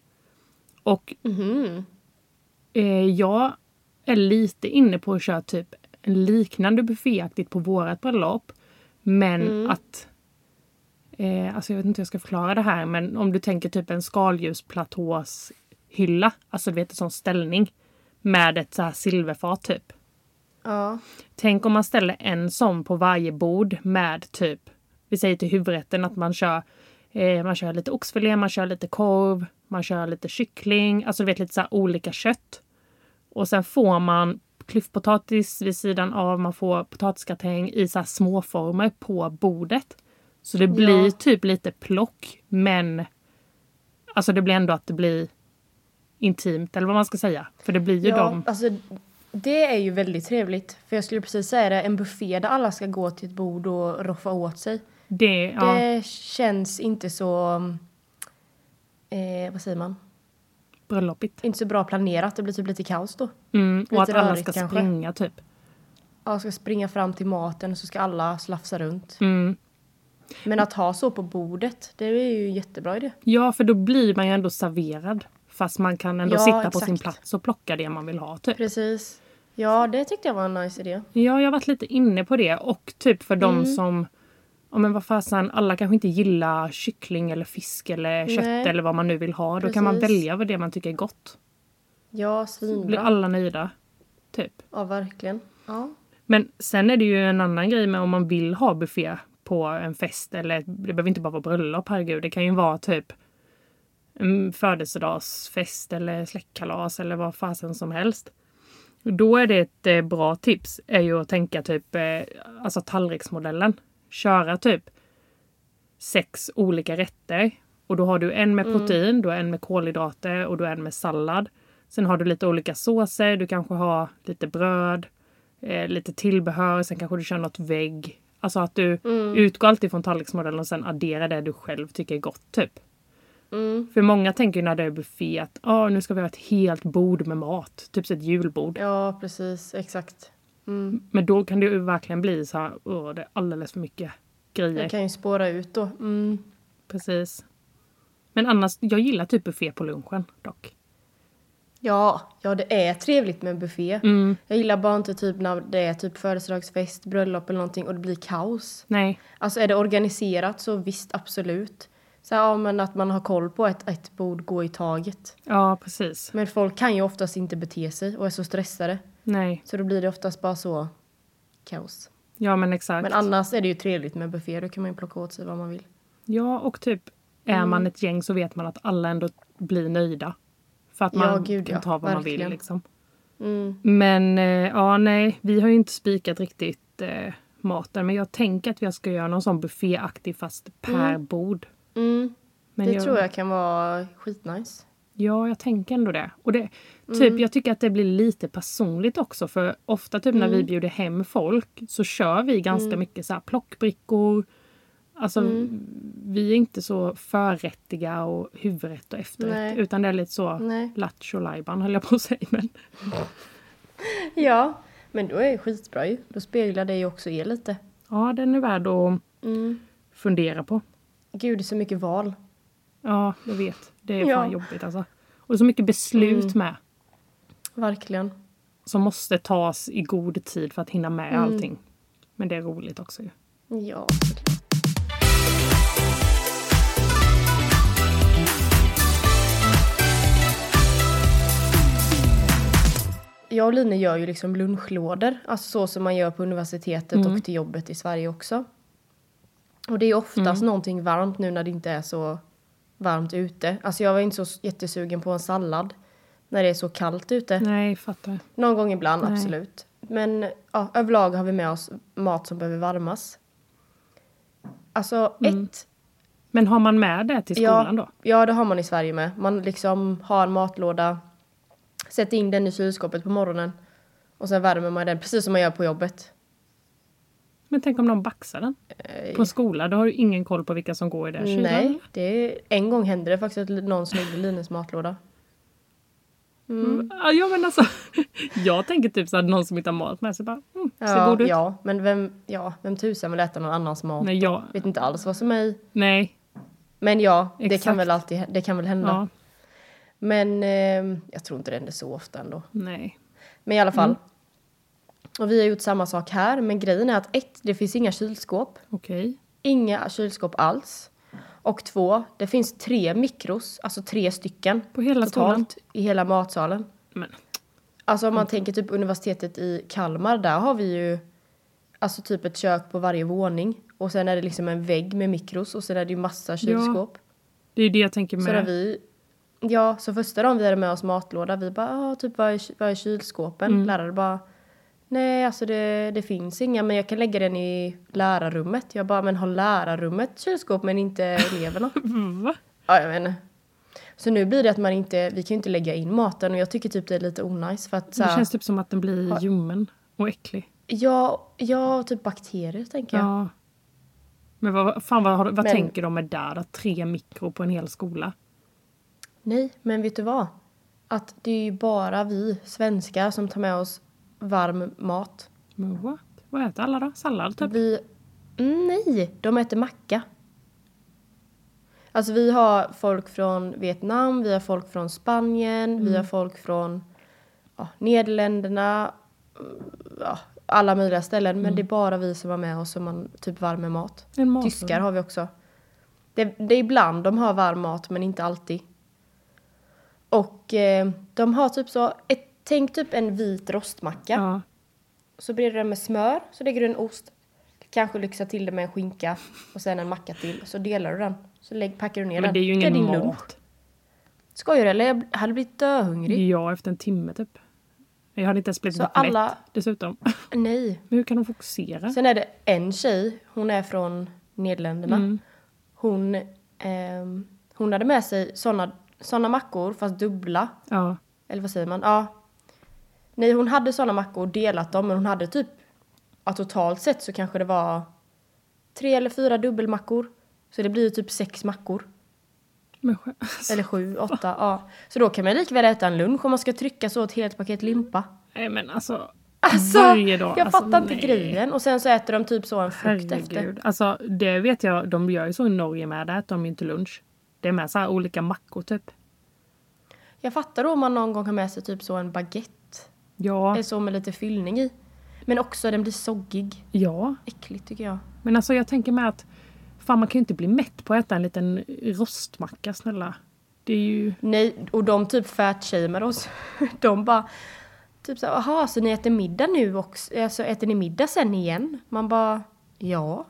Speaker 2: Och
Speaker 1: Mhm.
Speaker 2: eh, jag är lite inne på att köra typ en liknande bufféaktigt på vårat bröllop. Men att... Eh, alltså jag vet inte hur jag ska förklara det här men om du tänker typ en skaldjursplatåshylla. Alltså du vet en sån ställning. Med ett så här silverfat typ.
Speaker 1: Ja.
Speaker 2: Tänk om man ställer en sån på varje bord med typ, vi säger till huvudrätten att man kör, eh, man kör lite oxfilé, man kör lite korv, man kör lite kyckling, alltså du vet lite så här olika kött. Och sen får man klyftpotatis vid sidan av, man får potatisgratäng i så här småformer på bordet. Så det blir typ lite plock men alltså det blir ändå att det blir intimt eller vad man ska säga. För det blir ju
Speaker 1: ja,
Speaker 2: de
Speaker 1: alltså det är ju väldigt trevligt. För jag skulle precis säga det, en buffé där alla ska gå till ett bord och roffa åt sig.
Speaker 2: det, ja,
Speaker 1: Det känns inte så... Eh, vad säger man?
Speaker 2: bröllopigt.
Speaker 1: Inte så bra planerat, det blir typ lite kaos då.
Speaker 2: Mm, och
Speaker 1: Lite
Speaker 2: att alla
Speaker 1: rörigt
Speaker 2: ska
Speaker 1: kanske.
Speaker 2: springa typ.
Speaker 1: Alla ska springa fram till maten och så ska alla slafsa runt.
Speaker 2: Mm.
Speaker 1: Men att ha så på bordet, det är ju en jättebra idé.
Speaker 2: Ja, för då blir man ju ändå serverad. Fast man kan ändå
Speaker 1: Ja,
Speaker 2: sitta på
Speaker 1: exakt.
Speaker 2: sin plats och plocka det man vill ha typ.
Speaker 1: Precis. Ja, det tyckte jag var en nice idé.
Speaker 2: Ja, jag har varit lite inne på det. Och typ för
Speaker 1: Mm.
Speaker 2: de som... Ja men vad fasen, alla kanske inte gillar kyckling eller fisk eller kött
Speaker 1: Nej.
Speaker 2: eller vad man nu vill ha. Då kan man
Speaker 1: Precis.
Speaker 2: välja vad det man tycker är gott.
Speaker 1: Ja,
Speaker 2: Då blir
Speaker 1: svinbra.
Speaker 2: alla nöjda. Typ.
Speaker 1: Ja, verkligen. Ja.
Speaker 2: Men sen är det ju en annan grej med om man vill ha buffé på en fest eller det behöver inte bara vara bröllop, herregud. Det kan ju vara typ en födelsedagsfest eller släktkalas eller vad fasen som helst. Då är det ett eh, bra tips är ju att tänka typ eh, alltså tallriksmodellen. Köra typ sex olika rätter och då har du en med protein, du har en med kolhydrater och du har en med sallad. Sen har du lite olika såser, du kanske har lite bröd, eh, lite tillbehör, sen kanske du kör något vägg. Alltså att du utgår alltid från tallriksmodellen och sen adderar det du själv tycker är gott typ.
Speaker 1: Mm.
Speaker 2: För många tänker ju när det är buffé att ah, nu ska vi ha ett helt bord med mat, typ så ett julbord.
Speaker 1: ja, precis. Exakt. Mm.
Speaker 2: Men då kan det ju verkligen bli så här, åh det är alldeles för mycket grejer.
Speaker 1: Jag kan ju spåra ut då. Mm.
Speaker 2: Precis. Men annars, jag gillar typ buffé på lunchen dock.
Speaker 1: Ja, ja, det är trevligt med en buffé.
Speaker 2: Mm.
Speaker 1: Jag gillar bara inte typ när det är typ födelsedagsfest, bröllop eller någonting och det blir kaos.
Speaker 2: Nej,
Speaker 1: Alltså är det organiserat så visst, absolut. Så här, ja, men att man har koll på ett, ett bord, gå i taget.
Speaker 2: ja precis.
Speaker 1: Men folk kan ju oftast inte bete sig och är så stressade.
Speaker 2: Nej,
Speaker 1: Så då blir det oftast bara så kaos.
Speaker 2: ja men exakt.
Speaker 1: Men annars är det ju trevligt med buffé, då kan man ju plocka åt sig vad man vill.
Speaker 2: Ja, och typ är
Speaker 1: Mm.
Speaker 2: man ett gäng så vet man att alla ändå blir nöjda. För att
Speaker 1: Ja,
Speaker 2: man
Speaker 1: gud,
Speaker 2: kan
Speaker 1: ja.
Speaker 2: ta vad man vill
Speaker 1: Verkligen.
Speaker 2: liksom.
Speaker 1: Mm.
Speaker 2: Men eh, ja, nej, vi har ju inte spikat riktigt eh, maten. Men jag tänker att jag ska göra någon sån bufféaktig fast per bord.
Speaker 1: Mm.
Speaker 2: Men
Speaker 1: det tror jag kan vara skitnice.
Speaker 2: Ja, jag tänker ändå det. Och det typ,
Speaker 1: Mm.
Speaker 2: Jag tycker att det blir lite personligt också för ofta typ när vi
Speaker 1: Mm.
Speaker 2: bjuder hem folk så kör vi ganska
Speaker 1: Mm.
Speaker 2: mycket så här plockbrickor. Alltså
Speaker 1: Mm.
Speaker 2: vi är inte så förrättiga och huvudrätt och efterrätt
Speaker 1: Nej.
Speaker 2: utan det är lite så
Speaker 1: Nej.
Speaker 2: lattjo lajban höll jag på att säga. Men,
Speaker 1: Ja, men då är det skitbra ju. Då speglar det ju också er lite.
Speaker 2: ja, den är värd att
Speaker 1: Mm.
Speaker 2: fundera på.
Speaker 1: Gud, det är så mycket val.
Speaker 2: Ja, jag vet. Det är
Speaker 1: Ja. Mm.
Speaker 2: fan jobbigt alltså. Och så mycket beslut med
Speaker 1: Verkligen.
Speaker 2: som måste tas i god tid för att hinna med
Speaker 1: Mm.
Speaker 2: allting. Men det är roligt också ju.
Speaker 1: Ja, såklart. Jag och Line gör ju liksom lunchlådor, alltså så som man gör på universitetet
Speaker 2: Mm.
Speaker 1: och till jobbet i Sverige också. Och det är ju oftast någonting varmt nu när det inte är så varmt ute. Alltså jag var inte så jättesugen på en sallad när det är så kallt ute.
Speaker 2: Nej, fattar.
Speaker 1: Någon gång ibland,
Speaker 2: Nej.
Speaker 1: absolut. Men ja, överlag har vi med oss mat som behöver varmas. Alltså
Speaker 2: Mm.
Speaker 1: ett,
Speaker 2: Men har man med det till
Speaker 1: Ja.
Speaker 2: skolan då?
Speaker 1: ja det har man i Sverige med. Man liksom har en matlåda, sätter in den i kylskåpet på morgonen och sen värmer man den precis som man gör på jobbet.
Speaker 2: Men tänk om de baxar den?
Speaker 1: Eh,
Speaker 2: På en skola, då har du ingen koll på vilka som går i den kylan.
Speaker 1: Nej, det är, en gång hände det faktiskt att någon snodde Linus matlåda.
Speaker 2: Mm. Ja, men alltså, [laughs] jag tänker typ så att någon som inte har mat med sig bara, mm, ser
Speaker 1: Ja,
Speaker 2: god ut.
Speaker 1: ja, men vem, ja, vem tusan vill äta någon annans mat?
Speaker 2: Nej, jag,
Speaker 1: Vet inte alls vad som är i.
Speaker 2: nej,
Speaker 1: Men ja, det
Speaker 2: Exakt.
Speaker 1: kan väl alltid det kan väl hända.
Speaker 2: ja,
Speaker 1: Men eh, jag tror inte det händer så ofta ändå.
Speaker 2: nej.
Speaker 1: Men i alla
Speaker 2: Mm.
Speaker 1: fall. Och vi har gjort samma sak här. Men grejen är att ett, det finns inga kylskåp.
Speaker 2: Okej.
Speaker 1: Inga kylskåp alls. Och två, det finns tre mikros, alltså tre stycken.
Speaker 2: På hela skolan?
Speaker 1: totalt i hela matsalen.
Speaker 2: Men,
Speaker 1: Alltså
Speaker 2: Mm.
Speaker 1: om man tänker typ universitetet i Kalmar, där har vi ju alltså typ ett kök på varje våning. Och sen är det liksom en vägg med mikros och sen är det ju massa kylskåp.
Speaker 2: det är ju det jag tänker
Speaker 1: Så när
Speaker 2: med.
Speaker 1: vi, ja, så första dagen vi hade med oss matlåda, vi bara, ah, typ vad är, ky- vad är kylskåpen?
Speaker 2: Mm.
Speaker 1: Lärare bara, nej alltså det, det finns inga, men jag kan lägga den i lärarrummet. Jag bara, men har lärarrummet kylskåp men inte
Speaker 2: [laughs]
Speaker 1: eleverna?
Speaker 2: Mm, Va?
Speaker 1: ja, jag vet inte. Så nu blir det att man inte, vi kan ju inte lägga in maten och jag tycker typ det är lite onajs för att så
Speaker 2: Det
Speaker 1: här,
Speaker 2: känns typ som att den blir ljummen och äcklig.
Speaker 1: ja, ja, typ bakterier tänker
Speaker 2: Ja.
Speaker 1: jag.
Speaker 2: Men vad, fan, vad, har- vad
Speaker 1: Men-
Speaker 2: tänker de med där? Att tre mikro på en hel skola?
Speaker 1: Nej, men vet du vad? Att det är ju bara vi svenskar som tar med oss varm mat.
Speaker 2: Men what? Vad äter alla då? Sallad typ?
Speaker 1: Vi... Nej, de äter macka. Alltså vi har folk från Vietnam, vi har folk från Spanien, vi har folk från ja, Nederländerna. Ja, alla möjliga ställen. Men det är bara vi som har med oss som man typ värmer mat.
Speaker 2: En matlåda.
Speaker 1: Tyskar har vi också. Det, det är ibland de har varm mat, men inte alltid. Och eh, de har typ så, ett, tänk typ en vit rostmacka.
Speaker 2: Ja.
Speaker 1: Så breder du den med smör, så lägger du en ost. Kanske lyxa till det med en skinka och sen en macka till. Så delar du den. Så lägg, packar du ner
Speaker 2: Men
Speaker 1: den.
Speaker 2: det är ju ingen
Speaker 1: din
Speaker 2: mat.
Speaker 1: lunch. Skojar du eller? Jag hade blivit döhungrig.
Speaker 2: Ja, efter en timme typ. Jag hade inte ens blivit
Speaker 1: Så
Speaker 2: mätt
Speaker 1: alla-
Speaker 2: dessutom. [laughs]
Speaker 1: Nej.
Speaker 2: Men hur kan de fokusera?
Speaker 1: Sen är det en tjej, hon är från Nederländerna.
Speaker 2: Mm.
Speaker 1: Hon, ehm, hon hade med sig såna, såna mackor, fast dubbla.
Speaker 2: Ja.
Speaker 1: Eller vad säger man? Ja. Nej, hon hade såna mackor och delat dem, men hon hade typ... Ja, totalt sett så kanske det var tre eller fyra dubbelmackor. Så det blir ju typ sex mackor.
Speaker 2: Men sjö- alltså,
Speaker 1: Eller sju, åtta. Ja. Så då kan man likväl äta en lunch om man ska trycka så ett helt paket limpa.
Speaker 2: [laughs] nej men alltså.
Speaker 1: Alltså,
Speaker 2: varje dag.
Speaker 1: jag
Speaker 2: alltså,
Speaker 1: fattar inte
Speaker 2: nej.
Speaker 1: grejen. Och sen så äter de typ så en frukt efter.
Speaker 2: Herregud. Alltså det vet jag, de gör ju så i Norge med, där äter de ju inte lunch. Det är med så här olika mackor typ.
Speaker 1: Jag fattar då om man någon gång har med sig typ så en baguette.
Speaker 2: Ja,
Speaker 1: Eller så med lite fyllning i. Men också den blir soggig.
Speaker 2: ja.
Speaker 1: Äckligt tycker jag.
Speaker 2: Men alltså jag tänker med att fan man kan ju inte bli mätt på att äta en liten rostmacka snälla. Det är ju...
Speaker 1: Nej, och de typ fatshamear oss. [laughs] De bara... Typ såhär, jaha, så ni äter middag nu också? Alltså äter ni middag sen igen? Man bara, ja.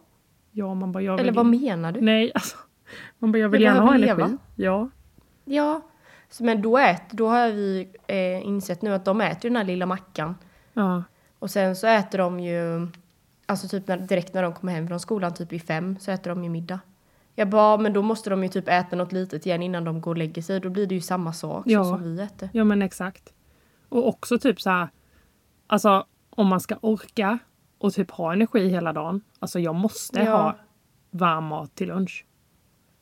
Speaker 2: Ja, man bara jag vill
Speaker 1: Eller vad menar du?
Speaker 2: Nej, alltså. [laughs] Man bara jag vill
Speaker 1: Vi
Speaker 2: gärna ha
Speaker 1: behöver
Speaker 2: energi.
Speaker 1: leva.
Speaker 2: Ja.
Speaker 1: Ja. Så, Men då, ät, då har vi eh, insett nu att de äter ju den här lilla mackan.
Speaker 2: Ja.
Speaker 1: Och sen så äter de ju, alltså typ när, direkt när de kommer hem från skolan, typ i fem, så äter de ju middag. Jag bara, men då måste de ju typ äta något litet igen innan de går och lägger sig. Då blir det ju samma sak
Speaker 2: Ja.
Speaker 1: som vi äter.
Speaker 2: Ja men exakt. Och också typ så här, alltså om man ska orka och typ ha energi hela dagen. Alltså jag måste
Speaker 1: Ja.
Speaker 2: ha varm mat till lunch.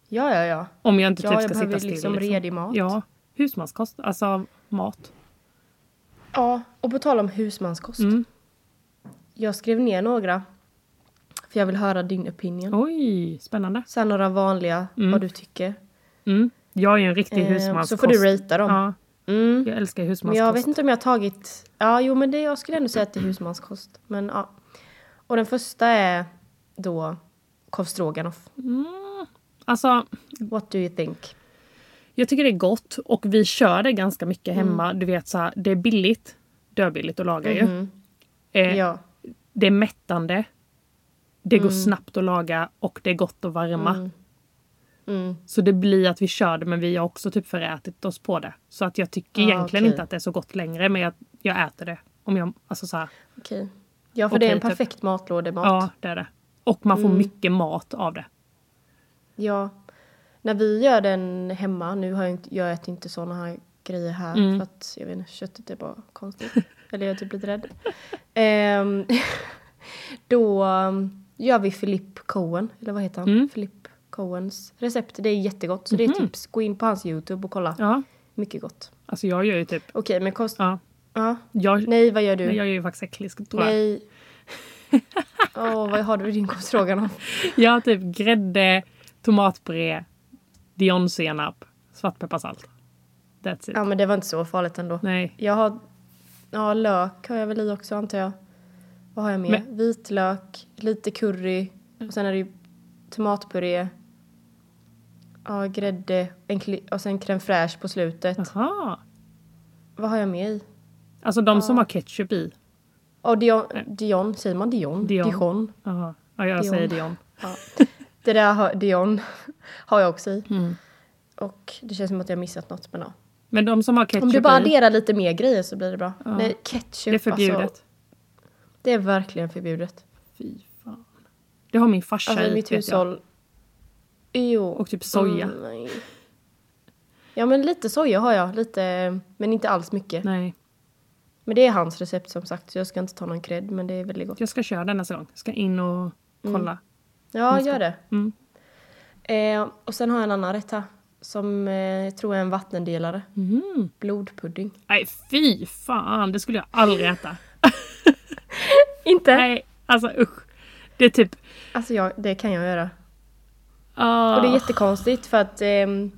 Speaker 1: Ja, ja, ja.
Speaker 2: Om jag inte
Speaker 1: Ja,
Speaker 2: typ
Speaker 1: jag
Speaker 2: ska sitta
Speaker 1: behöver
Speaker 2: still.
Speaker 1: liksom redig mat.
Speaker 2: Ja, husmanskost, alltså mat.
Speaker 1: Ja, och på tal om husmanskost.
Speaker 2: Mm.
Speaker 1: Jag skrev ner några. För jag vill höra din opinion.
Speaker 2: Oj, spännande.
Speaker 1: Sen några vanliga,
Speaker 2: Mm.
Speaker 1: vad du tycker.
Speaker 2: Mm. Jag är ju en riktig
Speaker 1: Eh,
Speaker 2: husmanskost.
Speaker 1: så får du ratea dem.
Speaker 2: Ja,
Speaker 1: Mm.
Speaker 2: jag älskar
Speaker 1: Men
Speaker 2: husmanskost.
Speaker 1: jag vet inte om jag har tagit... Ja, jo men det, jag skulle ändå säga att det är husmanskost. Men ja. Och den första är då korv stroganoff.
Speaker 2: Mm. Alltså,
Speaker 1: What do you think?
Speaker 2: Jag tycker det är gott och vi kör det ganska mycket hemma.
Speaker 1: Mm.
Speaker 2: Du vet så här, det är billigt. Döbilligt att laga ju. Eh,
Speaker 1: Mm-hmm. Ja.
Speaker 2: Det är mättande. Det går snabbt att laga och det är gott att varma.
Speaker 1: Mm.
Speaker 2: Så det blir att vi kör det men vi har också typ förätit oss på det. Så att jag tycker
Speaker 1: Ah,
Speaker 2: egentligen
Speaker 1: okej.
Speaker 2: inte att det är så gott längre men jag, jag äter det. Om jag, alltså så här,
Speaker 1: Okej. Ja, för
Speaker 2: Okej,
Speaker 1: det är en
Speaker 2: typ.
Speaker 1: perfekt matlådemat.
Speaker 2: ja, det är det. Och man får
Speaker 1: Mm.
Speaker 2: mycket mat av det.
Speaker 1: Ja. När vi gör den hemma, nu har jag, inte, jag äter inte såna här grejer här
Speaker 2: Mm.
Speaker 1: för att jag vet inte, köttet är bara konstigt. [laughs] Eller jag är typ lite rädd. Ehm, [laughs] då um, gör vi Philip Cohen, eller vad heter han?
Speaker 2: Mm. Mhm.
Speaker 1: Philip Cohens recept. Det är jättegott, så det är tips. Gå in på hans Youtube och kolla.
Speaker 2: Ja.
Speaker 1: Mycket gott.
Speaker 2: Alltså jag gör ju typ...
Speaker 1: Okej, men kost... Ja.
Speaker 2: Ja. Jag, nej,
Speaker 1: Nej, vad gör du?
Speaker 2: jag är ju faktiskt äcklig tror jag.
Speaker 1: Nej. Åh, vad har du i din kostfråga om?
Speaker 2: Jag har typ grädde, tomatpuré, dijonsenap, svartpepparsalt. That's it.
Speaker 1: Ja, men det var inte så farligt ändå.
Speaker 2: Nej.
Speaker 1: Jag har ja, lök har jag väl i också antar jag. Vad har jag mer?
Speaker 2: Men- Mm.
Speaker 1: Vitlök, lite curry och sen är det ju tomatpuré. Ja, grädde en kli- och sen crème fraîche på slutet.
Speaker 2: Jaha.
Speaker 1: Vad har jag med i?
Speaker 2: Alltså de som har ketchup i.
Speaker 1: Och Dion, Dion, säger man Dion?
Speaker 2: Dion.
Speaker 1: Dijon.
Speaker 2: Jaha. Ja, jag
Speaker 1: Dijon.
Speaker 2: säger Dion.
Speaker 1: Ja. Det där har, Dion [laughs] har jag också i.
Speaker 2: Mm.
Speaker 1: Och det känns som att jag missat något men ja.
Speaker 2: Men de som har ketchup
Speaker 1: Om du bara
Speaker 2: i,
Speaker 1: adderar lite mer grejer så blir det bra. Nej, ketchup
Speaker 2: det är förbjudet.
Speaker 1: Alltså, det är verkligen förbjudet.
Speaker 2: Fy fan. Det har min farsa
Speaker 1: Alltså
Speaker 2: i,
Speaker 1: i mitt
Speaker 2: vet jag.
Speaker 1: hushåll. Jo.
Speaker 2: Och typ soja.
Speaker 1: Mm, nej. ja men lite soja har jag, lite, men inte alls mycket.
Speaker 2: Nej,
Speaker 1: Men det är hans recept som sagt så jag ska inte ta någon cred men det är väldigt gott.
Speaker 2: jag ska köra den nästa gång. Ska in och
Speaker 1: Mm.
Speaker 2: kolla.
Speaker 1: Ja, gör det.
Speaker 2: Mm.
Speaker 1: Eh, och sen har jag en annan rätt här som eh, jag tror är en vattendelare.
Speaker 2: Mm.
Speaker 1: Blodpudding.
Speaker 2: Mhm. Nej, fy fan. Det skulle jag aldrig äta.
Speaker 1: Inte?
Speaker 2: Nej, alltså usch. Det är typ...
Speaker 1: Alltså jag, det kan jag göra.
Speaker 2: ah,
Speaker 1: Och det är jättekonstigt för att ehm,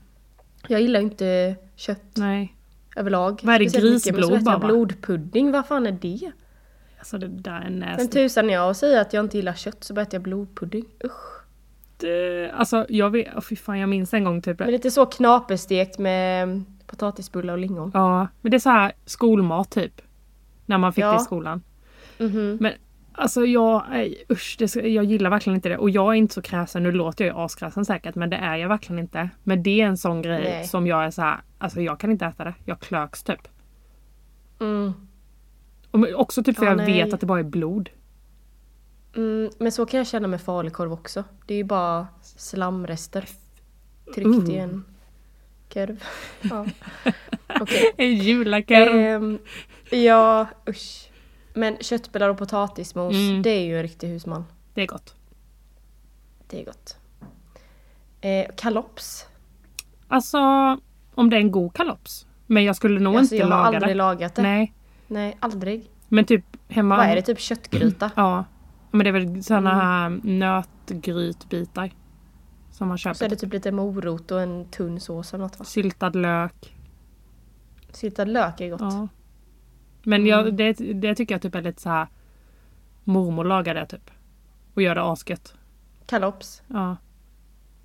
Speaker 1: jag gillar ju inte kött
Speaker 2: Nej.
Speaker 1: överlag.
Speaker 2: Vad är det,
Speaker 1: speciellt mycket, Men så
Speaker 2: grisblod
Speaker 1: äter jag
Speaker 2: bara, va?
Speaker 1: blodpudding, vad fan är det?
Speaker 2: Alltså det där är
Speaker 1: Sen
Speaker 2: nasty.
Speaker 1: tusan jag och säger att jag inte gillar kött så bara äter jag blodpudding. Usch.
Speaker 2: Det, alltså jag vet... Oh, fy fan, jag minns en gång typ...
Speaker 1: Men lite så knaperstekt med mm, potatisbullar och lingon.
Speaker 2: Ja, men det är så här skolmat typ. När man fick
Speaker 1: Ja. Mhm.
Speaker 2: det i skolan. Men alltså jag, nej, usch, det, ska- jag gillar verkligen inte det. Och jag är inte så kräsen, nu låter jag ju askräsen säkert, men det är jag verkligen inte. Men det är en sån grej
Speaker 1: Nej.
Speaker 2: som jag är så här, alltså jag kan inte äta det. Jag klöks typ.
Speaker 1: Mm.
Speaker 2: Och men också typ för
Speaker 1: Ja,
Speaker 2: jag
Speaker 1: nej.
Speaker 2: vet att det bara är blod.
Speaker 1: Mm, men så kan jag känna med falukorv också. Det är ju bara slamrester. Tryckt i
Speaker 2: Uh.
Speaker 1: en
Speaker 2: [laughs]
Speaker 1: korv. ja. Okej.
Speaker 2: En julakorv.
Speaker 1: Ehm, ja, usch. Men köttbullar och potatismos,
Speaker 2: Mm.
Speaker 1: det är ju en riktig husman.
Speaker 2: Det är gott.
Speaker 1: Det är gott. Eh, kalops.
Speaker 2: Alltså, om det är en god kalops. Men jag skulle nog
Speaker 1: Alltså, jag
Speaker 2: inte
Speaker 1: har
Speaker 2: laga
Speaker 1: aldrig
Speaker 2: det.
Speaker 1: lagat det. Nej,
Speaker 2: Nej,
Speaker 1: aldrig.
Speaker 2: men typ hemma.
Speaker 1: Vad är det? Typ köttgryta?
Speaker 2: Ja. Men det är väl såna här
Speaker 1: Mm.
Speaker 2: nötgrytbitar. Som man
Speaker 1: Så
Speaker 2: köper. Typ
Speaker 1: är det typ lite morot och en tunn sås eller något va?
Speaker 2: Syltad lök.
Speaker 1: Syltad lök är gott.
Speaker 2: Ja. Men
Speaker 1: Mm.
Speaker 2: jag, det, det tycker jag typ är lite så här. Mormor lagar det typ. Och gör det asgött.
Speaker 1: Kalops.
Speaker 2: Ja.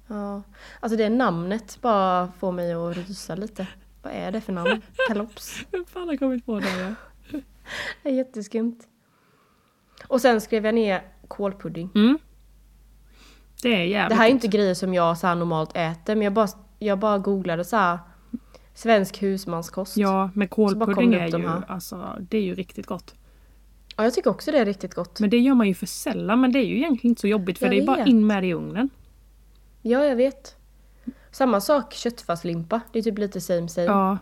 Speaker 1: Ja. Alltså det namnet bara får mig att rysa lite. Vad är det för
Speaker 2: [laughs]
Speaker 1: namn? Kalops.
Speaker 2: Vem fan har kommit på det? Ja.
Speaker 1: Det är jätteskumt. Och sen skrev jag ner kålpudding.
Speaker 2: Mm. Det är jävligt
Speaker 1: Det här är
Speaker 2: gott.
Speaker 1: inte grejer som jag så här normalt äter men jag bara, jag bara googlade så här svensk husmanskost.
Speaker 2: Ja,
Speaker 1: bara
Speaker 2: men
Speaker 1: kom
Speaker 2: kålpudding
Speaker 1: det upp
Speaker 2: är
Speaker 1: de
Speaker 2: ju,
Speaker 1: här.
Speaker 2: alltså, det är ju riktigt gott.
Speaker 1: ja jag tycker också det är riktigt gott.
Speaker 2: Men det gör man ju för sällan. Men det är ju egentligen inte så jobbigt för
Speaker 1: Jag
Speaker 2: det är bara
Speaker 1: vet.
Speaker 2: in med det i ugnen.
Speaker 1: Ja, jag vet. Samma sak köttfärslimpa. Det är typ lite same same.
Speaker 2: Ja.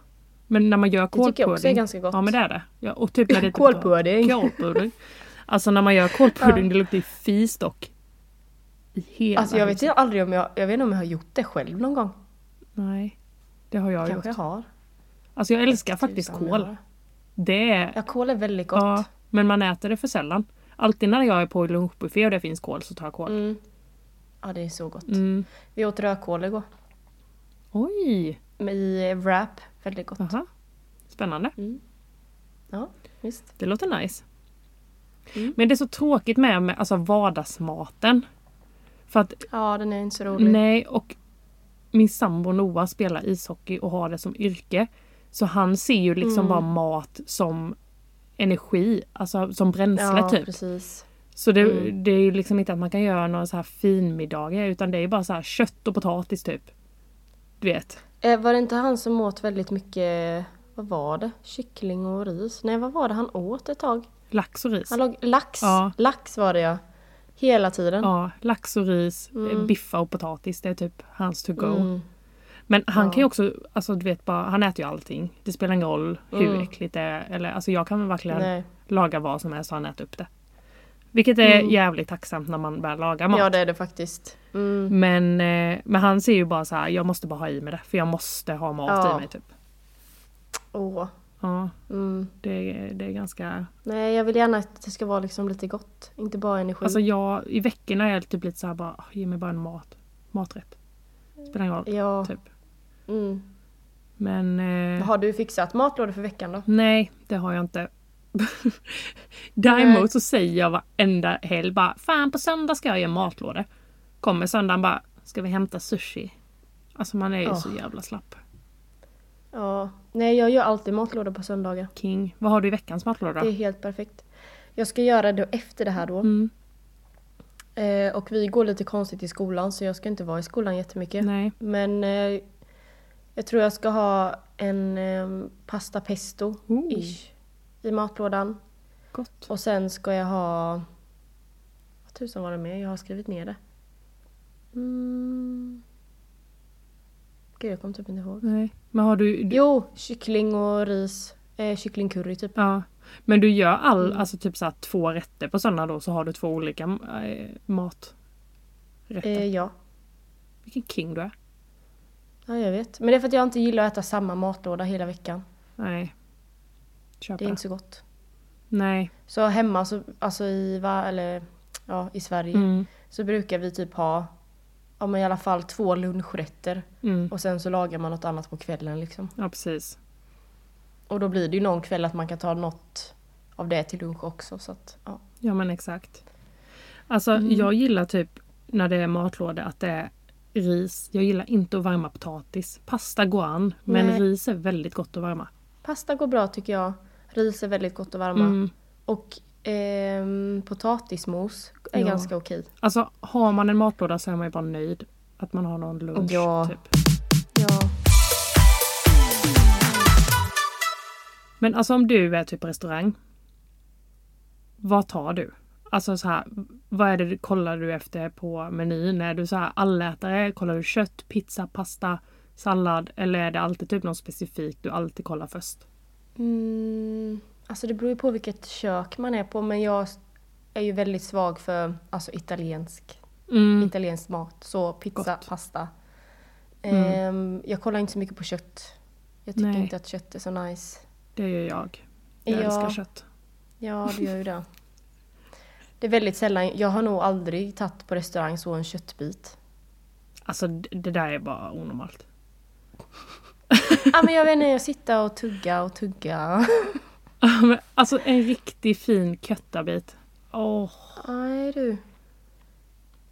Speaker 2: Men när man gör
Speaker 1: tycker jag
Speaker 2: kålpudding.
Speaker 1: också är ganska gott.
Speaker 2: Ja men det är det. Ja, och typ när det
Speaker 1: [clears throat]
Speaker 2: är typ-
Speaker 1: Kålpudding.
Speaker 2: Kålpudding. Alltså när man gör kålpudding det luktar ju fis dock. I hela
Speaker 1: Alltså jag vet
Speaker 2: huset.
Speaker 1: ju aldrig om jag, jag vet inte om jag har gjort det själv någon gång.
Speaker 2: Nej. Det har jag
Speaker 1: Kanske jag
Speaker 2: gjort.
Speaker 1: har.
Speaker 2: Alltså jag älskar faktiskt
Speaker 1: Tusan, jag
Speaker 2: kål.
Speaker 1: har.
Speaker 2: Det är
Speaker 1: Ja, kål är väldigt gott.
Speaker 2: Ja, men man äter det för sällan. Alltid när jag är på lunchbuffé och det finns kål så tar jag kål.
Speaker 1: Mm. Ja, det är så gott.
Speaker 2: Mm.
Speaker 1: Vi åt rödkål igår.
Speaker 2: Oj!
Speaker 1: Med I wrap. Väldigt gott.
Speaker 2: Aha. Spännande.
Speaker 1: Ja, visst.
Speaker 2: Det låter nice.
Speaker 1: Mm.
Speaker 2: Men det är så tråkigt med, med alltså vardagsmaten. För att,
Speaker 1: Ja, den är inte så rolig.
Speaker 2: nej, och min sambo Noah spelar ishockey och har det som yrke. Så han ser ju liksom
Speaker 1: Mm.
Speaker 2: bara mat som energi, alltså som bränsle
Speaker 1: ja,
Speaker 2: typ.
Speaker 1: precis. Mm.
Speaker 2: Så det, det är ju liksom inte att man kan göra några så här finmiddagar utan det är ju bara så här kött och potatis typ. Du vet.
Speaker 1: Eh, var det inte han som åt väldigt mycket, vad var det? Kyckling och ris? Nej, vad var det han åt ett tag?
Speaker 2: Lax och ris.
Speaker 1: Han låg, lax.
Speaker 2: Ja.
Speaker 1: Lax var det ja. Hela tiden.
Speaker 2: Ja, lax och ris, eh, biffa och potatis. Det är typ hans to go.
Speaker 1: Mm.
Speaker 2: Men han kan ju också, alltså du vet bara, han äter ju allting. Det spelar ingen roll hur
Speaker 1: Mm.
Speaker 2: äckligt det är. Eller, alltså jag kan väl verkligen
Speaker 1: Nej.
Speaker 2: laga vad som helst och han äter upp det. Vilket är jävligt tacksamt när man väl lagar mat.
Speaker 1: Mm. Ja, det är det faktiskt. Mm.
Speaker 2: men, eh, men han ser ju bara så här, jag måste bara ha i mig det. För jag måste ha mat
Speaker 1: Ja.
Speaker 2: i mig typ.
Speaker 1: Åh.
Speaker 2: Ja,
Speaker 1: Mm.
Speaker 2: det, är- det är ganska
Speaker 1: Nej, jag vill gärna att det ska vara liksom lite gott. Inte bara energi.
Speaker 2: Alltså jag, i veckorna är jag typ lite såhär bara, "Ah, ge mig bara en mat. Maträtt. Spelar ingen roll.
Speaker 1: ja.
Speaker 2: Typ.
Speaker 1: Mm.
Speaker 2: Men eh,
Speaker 1: Har du fixat matlådor för veckan då?
Speaker 2: nej, det har jag inte. [laughs] Däremot
Speaker 1: Nej.
Speaker 2: så säger jag varenda helg bara, fan på söndag ska jag göra matlådor. Kommer söndagen bara, ska vi hämta sushi? Alltså man är ju
Speaker 1: Åh.
Speaker 2: så jävla slapp.
Speaker 1: Ja. Nej, jag gör alltid matlådor på söndagar.
Speaker 2: King. Vad har du i veckans matlåda?
Speaker 1: Det är helt perfekt. Jag ska göra det efter det här då.
Speaker 2: Mm.
Speaker 1: Eh, och vi går lite konstigt i skolan så jag ska inte vara i skolan jättemycket.
Speaker 2: Nej.
Speaker 1: Men eh, jag tror jag ska ha en eh, pasta
Speaker 2: Ooh.
Speaker 1: pesto-ish i matlådan.
Speaker 2: Gott.
Speaker 1: Och sen ska jag ha... Vad tusan var det med? Jag har skrivit ner det. Mm. Gud, jag kommer typ inte ihåg.
Speaker 2: Nej. Men har du, du
Speaker 1: Jo, kyckling och ris. Eh, kycklingcurry typ.
Speaker 2: Ja. Men du gör all,
Speaker 1: Mm.
Speaker 2: alltså typ såhär två rätter på söndag då så har du två olika eh, maträtter.
Speaker 1: Eh, ja.
Speaker 2: Vilken king du är.
Speaker 1: ja, jag vet. Men det är för att jag inte gillar att äta samma matlåda hela veckan.
Speaker 2: Nej. Köpa.
Speaker 1: Det är inte så gott.
Speaker 2: Nej.
Speaker 1: Så hemma, så, alltså i, va, eller, ja, i Sverige,
Speaker 2: Mm.
Speaker 1: så brukar vi typ ha ja, men i alla fall två lunchrätter.
Speaker 2: Mm.
Speaker 1: Och sen så lagar man något annat på kvällen liksom.
Speaker 2: Ja precis.
Speaker 1: Och då blir det ju någon kväll att man kan ta något av det till lunch också. Så att, ja.
Speaker 2: Ja men exakt. Alltså
Speaker 1: Mm.
Speaker 2: jag gillar typ när det är matlåda att det är ris. Jag gillar inte att värma potatis. Pasta går an men
Speaker 1: Nej.
Speaker 2: ris är väldigt gott att värma.
Speaker 1: Pasta går bra tycker jag. Ris är väldigt gott att värma.
Speaker 2: Mm.
Speaker 1: Och ehm, potatismos är
Speaker 2: Ja.
Speaker 1: ganska okej.
Speaker 2: Alltså har man en matlåda så är man ju bara nöjd. Att man har någon lunch
Speaker 1: Ja.
Speaker 2: typ.
Speaker 1: Ja.
Speaker 2: Men alltså om du är typ på restaurang. Vad tar du? Alltså så här, vad är det du kollar du efter på menyn? Är du så här allätare? Kollar du kött, pizza, pasta, sallad? Eller är det alltid typ någon specifik du alltid kollar först?
Speaker 1: Mm, alltså det beror ju på vilket kök man är på men jag är ju väldigt svag för alltså, italiensk
Speaker 2: Mm.
Speaker 1: italiensk mat. Så pizza,
Speaker 2: Gott. Mm.
Speaker 1: pasta. Ehm, jag kollar inte så mycket på kött. Jag tycker
Speaker 2: Nej.
Speaker 1: inte att kött är så nice.
Speaker 2: Det gör jag. Jag
Speaker 1: Ja.
Speaker 2: älskar kött.
Speaker 1: Ja, det gör ju det. Det är väldigt sällan, jag har nog aldrig tagit på restaurang så en köttbit.
Speaker 2: Alltså d- det där är bara onormalt. [laughs]
Speaker 1: Ja men jag vet inte, jag sitter och tugga och tugga.
Speaker 2: Men, alltså en riktigt fin köttabit. Åh,
Speaker 1: Nej du.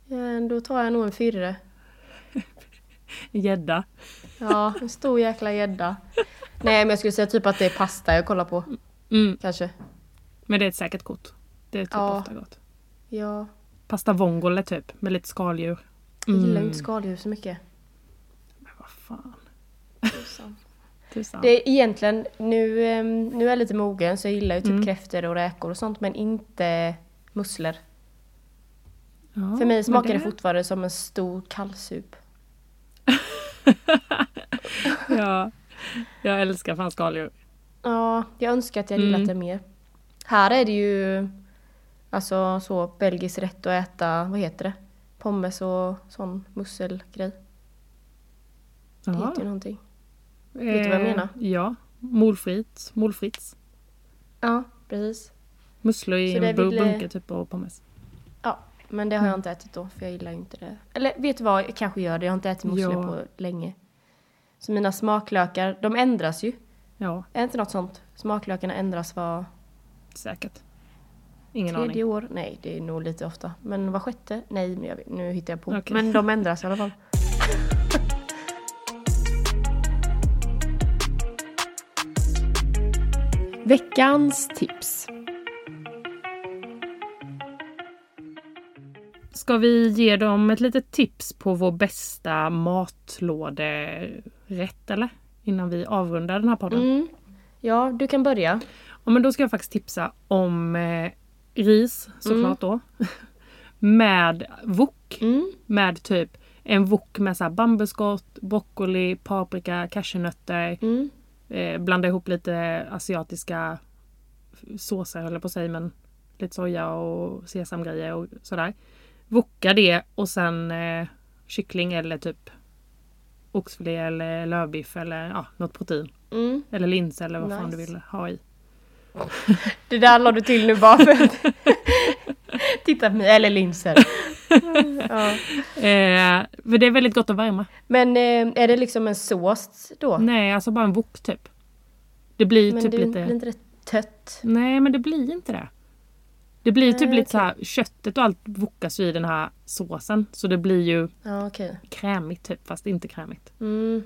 Speaker 1: Ja, Då tar jag nog en fyrre.
Speaker 2: en gädda.
Speaker 1: Ja, en stor jäkla gädda. Nej men jag skulle säga typ att det är pasta jag kollar på.
Speaker 2: Mm.
Speaker 1: Kanske.
Speaker 2: Men det är ett säkert kort. Det är typ
Speaker 1: Ja.
Speaker 2: ofta gott.
Speaker 1: Ja,
Speaker 2: Pasta vongole typ, med lite skaldjur.
Speaker 1: jag gillar ju
Speaker 2: Mm.
Speaker 1: inte skaldjur så mycket.
Speaker 2: Men vad fan.
Speaker 1: Så.
Speaker 2: [laughs] Tusan.
Speaker 1: Det är egentligen, nu, ehm, nu är jag lite mogen så jag gillar ju typ
Speaker 2: Mm.
Speaker 1: kräftor och räkor och sånt men inte musslor. För
Speaker 2: Ja,
Speaker 1: mig
Speaker 2: men Mm,
Speaker 1: smakar det... fortfarande som en stor kallsup.
Speaker 2: [laughs] ja, jag älskar fan skaldjur.
Speaker 1: Ja, jag önskar att jag hade
Speaker 2: Mm.
Speaker 1: gillat det mer. Här är det ju alltså så belgisk rätt att äta, vad heter det? Pommes och sån musselgrej. Det heter ju någonting. vet du vad jag menar?
Speaker 2: Eh, Ja, molfritt. Molfritt.
Speaker 1: Ja, precis.
Speaker 2: Musslor i
Speaker 1: Så
Speaker 2: en
Speaker 1: det
Speaker 2: bu-
Speaker 1: vill, eh,
Speaker 2: bunke typ och pommes.
Speaker 1: Ja, men det har
Speaker 2: Mm.
Speaker 1: jag inte ätit då för jag gillar ju inte det. Eller vet du vad, jag kanske gör det. Jag har inte ätit musslor
Speaker 2: Ja.
Speaker 1: på länge. Så mina smaklökar, de ändras ju.
Speaker 2: Ja,
Speaker 1: Är det inte något sånt? Smaklökarna ändras var
Speaker 2: säkert. Ingen
Speaker 1: tredje
Speaker 2: aning.
Speaker 1: år? Nej, det är nog lite ofta. Men var sjätte? Nej, men jag, vet- nu hittar jag på.
Speaker 2: Okej.
Speaker 1: Men de ändras i alla fall. Veckans tips.
Speaker 2: Ska vi ge dem ett litet tips på vår bästa matlåderätt eller? Innan vi avrundar den här podden.
Speaker 1: Mm. Ja, du kan börja.
Speaker 2: Ja, men då ska jag faktiskt tipsa om eh, ris såklart då. [laughs] med wok.
Speaker 1: Mm.
Speaker 2: Med typ en wok med så här bambuskott, broccoli, paprika, cashewnötter.
Speaker 1: Mm.
Speaker 2: Eh, blanda ihop lite asiatiska såser höll jag på att säga men lite soja och sesamgrejer och sådär. Woka det och sen eh, kyckling eller typ oxfilé eller lövbiff eller ja, något protein.
Speaker 1: Mm.
Speaker 2: Eller lins eller vad fan du
Speaker 1: Nice.
Speaker 2: vill ha i.
Speaker 1: Det där la du till nu bara för att... [laughs] Titta på mig, eller linser. ja.
Speaker 2: Eh, för det är väldigt gott att värma.
Speaker 1: Men eh, är det liksom en sås då?
Speaker 2: Nej, alltså bara en wok typ. Det blir ju
Speaker 1: men
Speaker 2: typ
Speaker 1: det
Speaker 2: lite...
Speaker 1: blir inte rätt tött?
Speaker 2: Nej, men det blir inte det. Det blir ju typ
Speaker 1: Nej,
Speaker 2: lite så här, köttet och allt wokas ju i den här såsen. Så det blir ju
Speaker 1: Ja, okej.
Speaker 2: krämigt typ, fast inte krämigt.
Speaker 1: Mm.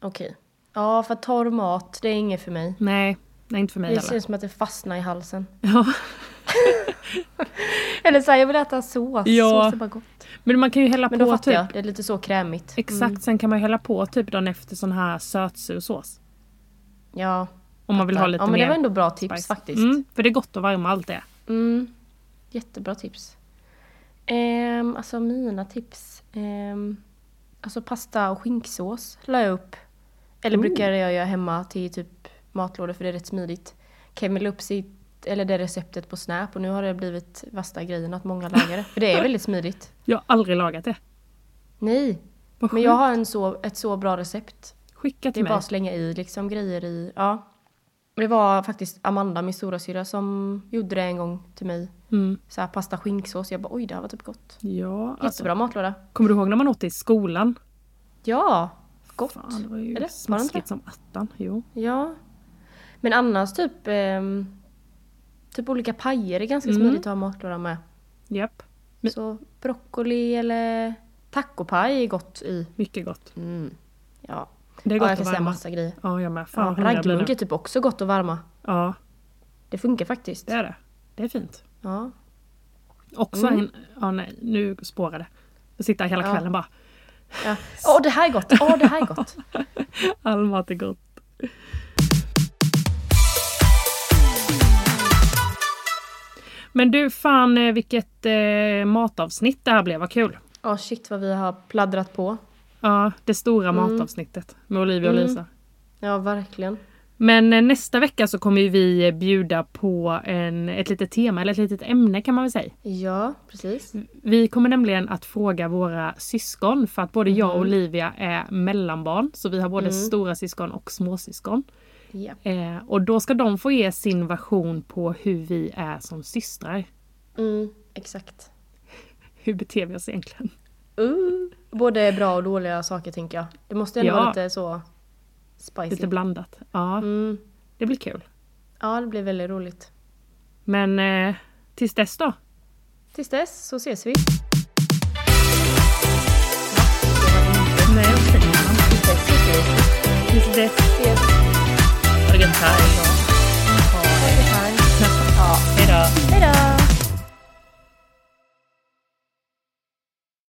Speaker 1: Okej. Ja, för torr mat, det är inget för mig.
Speaker 2: Nej, nej inte för mig
Speaker 1: Det
Speaker 2: heller.
Speaker 1: känns som att det fastnar i halsen.
Speaker 2: Ja. [laughs]
Speaker 1: Eller såhär, jag vill äta sås.
Speaker 2: Ja.
Speaker 1: Sås är bara gott.
Speaker 2: Men man kan ju hälla
Speaker 1: Men då
Speaker 2: på
Speaker 1: fattar
Speaker 2: typ...
Speaker 1: jag, Mm. det är lite så krämigt.
Speaker 2: Exakt, sen kan man ju hälla på typ dagen efter sån här sötsur sås.
Speaker 1: Ja.
Speaker 2: Om man vill ha lite
Speaker 1: ja, men
Speaker 2: mer
Speaker 1: det var ändå bra tips
Speaker 2: spice.
Speaker 1: faktiskt.
Speaker 2: Mm, för det är gott att värma allt det.
Speaker 1: Mm. Jättebra tips. Ehm, alltså mina tips. Ehm, alltså pasta och skinksås la jag upp. Eller
Speaker 2: Ooh.
Speaker 1: brukar jag göra hemma till typ matlådor för det är rätt smidigt. Kevin la upp sitt, eller det receptet på Snap och nu har det blivit värsta grejen att många lagar det. För det är väldigt smidigt.
Speaker 2: Jag har aldrig lagat det.
Speaker 1: Nej,
Speaker 2: Vad
Speaker 1: men jag
Speaker 2: sjukt.
Speaker 1: har en så, ett så bra recept.
Speaker 2: Skicka
Speaker 1: Det är
Speaker 2: till
Speaker 1: bara
Speaker 2: mig.
Speaker 1: att slänga i liksom grejer i, ja. Det var faktiskt Amanda, min storasyrra, som gjorde det en gång till mig
Speaker 2: Mm.
Speaker 1: så här pasta skinksås. Jag bara oj det här var typ gott.
Speaker 2: Ja, alltså,
Speaker 1: Jättebra matlåda.
Speaker 2: kommer du ihåg när man åt det i skolan?
Speaker 1: Ja, gott.
Speaker 2: Fan, det var ju
Speaker 1: Eller? Var det inte
Speaker 2: smaskigt som attan. Jo.
Speaker 1: Ja. Men annars typ ehm, Typ olika pajer är ganska
Speaker 2: Mm.
Speaker 1: smidigt att ha matlåda med.
Speaker 2: Japp. Men-
Speaker 1: Så broccoli eller tacopaj är gott i.
Speaker 2: Mycket gott.
Speaker 1: Mm. Ja.
Speaker 2: Det är
Speaker 1: ja,
Speaker 2: gott
Speaker 1: jag
Speaker 2: att
Speaker 1: kan säga
Speaker 2: värma.
Speaker 1: massa grejer.
Speaker 2: Ja, jag med. Fan,
Speaker 1: Ja,
Speaker 2: vad hungrig jag blir
Speaker 1: Raggmunk är
Speaker 2: nu.
Speaker 1: typ också gott att varma.
Speaker 2: Ja,
Speaker 1: Det funkar faktiskt.
Speaker 2: det är det. Det är fint.
Speaker 1: Ja.
Speaker 2: Också
Speaker 1: Mm.
Speaker 2: en... Ja, nej, nu spårar det. Jag sitter här hela
Speaker 1: Ja.
Speaker 2: kvällen bara.
Speaker 1: Ja. Åh det här är gott! Åh det här är
Speaker 2: [laughs]
Speaker 1: gott!
Speaker 2: All mat är gott. Men du, fan eh, vilket eh, matavsnitt det här blev. Vad kul.
Speaker 1: Åh shit vad vi har pladdrat på.
Speaker 2: Ja, det stora matavsnittet med Olivia och
Speaker 1: Mm.
Speaker 2: Lisa.
Speaker 1: Ja verkligen.
Speaker 2: Men eh, nästa vecka så kommer ju vi eh, bjuda på en, ett litet tema, eller ett litet ämne kan man väl säga.
Speaker 1: Ja precis.
Speaker 2: Vi kommer nämligen att fråga våra syskon för att både jag och Olivia är mellanbarn så vi har både stora syskon och småsyskon.
Speaker 1: Ja.
Speaker 2: Eh, och då ska de få ge sin version på hur vi är som systrar.
Speaker 1: Mm, exakt.
Speaker 2: Hur beter vi oss egentligen?
Speaker 1: Uh. Både bra och dåliga saker tänker jag. Det måste ändå
Speaker 2: Ja.
Speaker 1: vara lite så spicy.
Speaker 2: Lite blandat. Ja,
Speaker 1: mm.
Speaker 2: det blir kul.
Speaker 1: Ja, det blir väldigt roligt.
Speaker 2: Men eh, tills dess då.
Speaker 1: Tills dess så ses vi.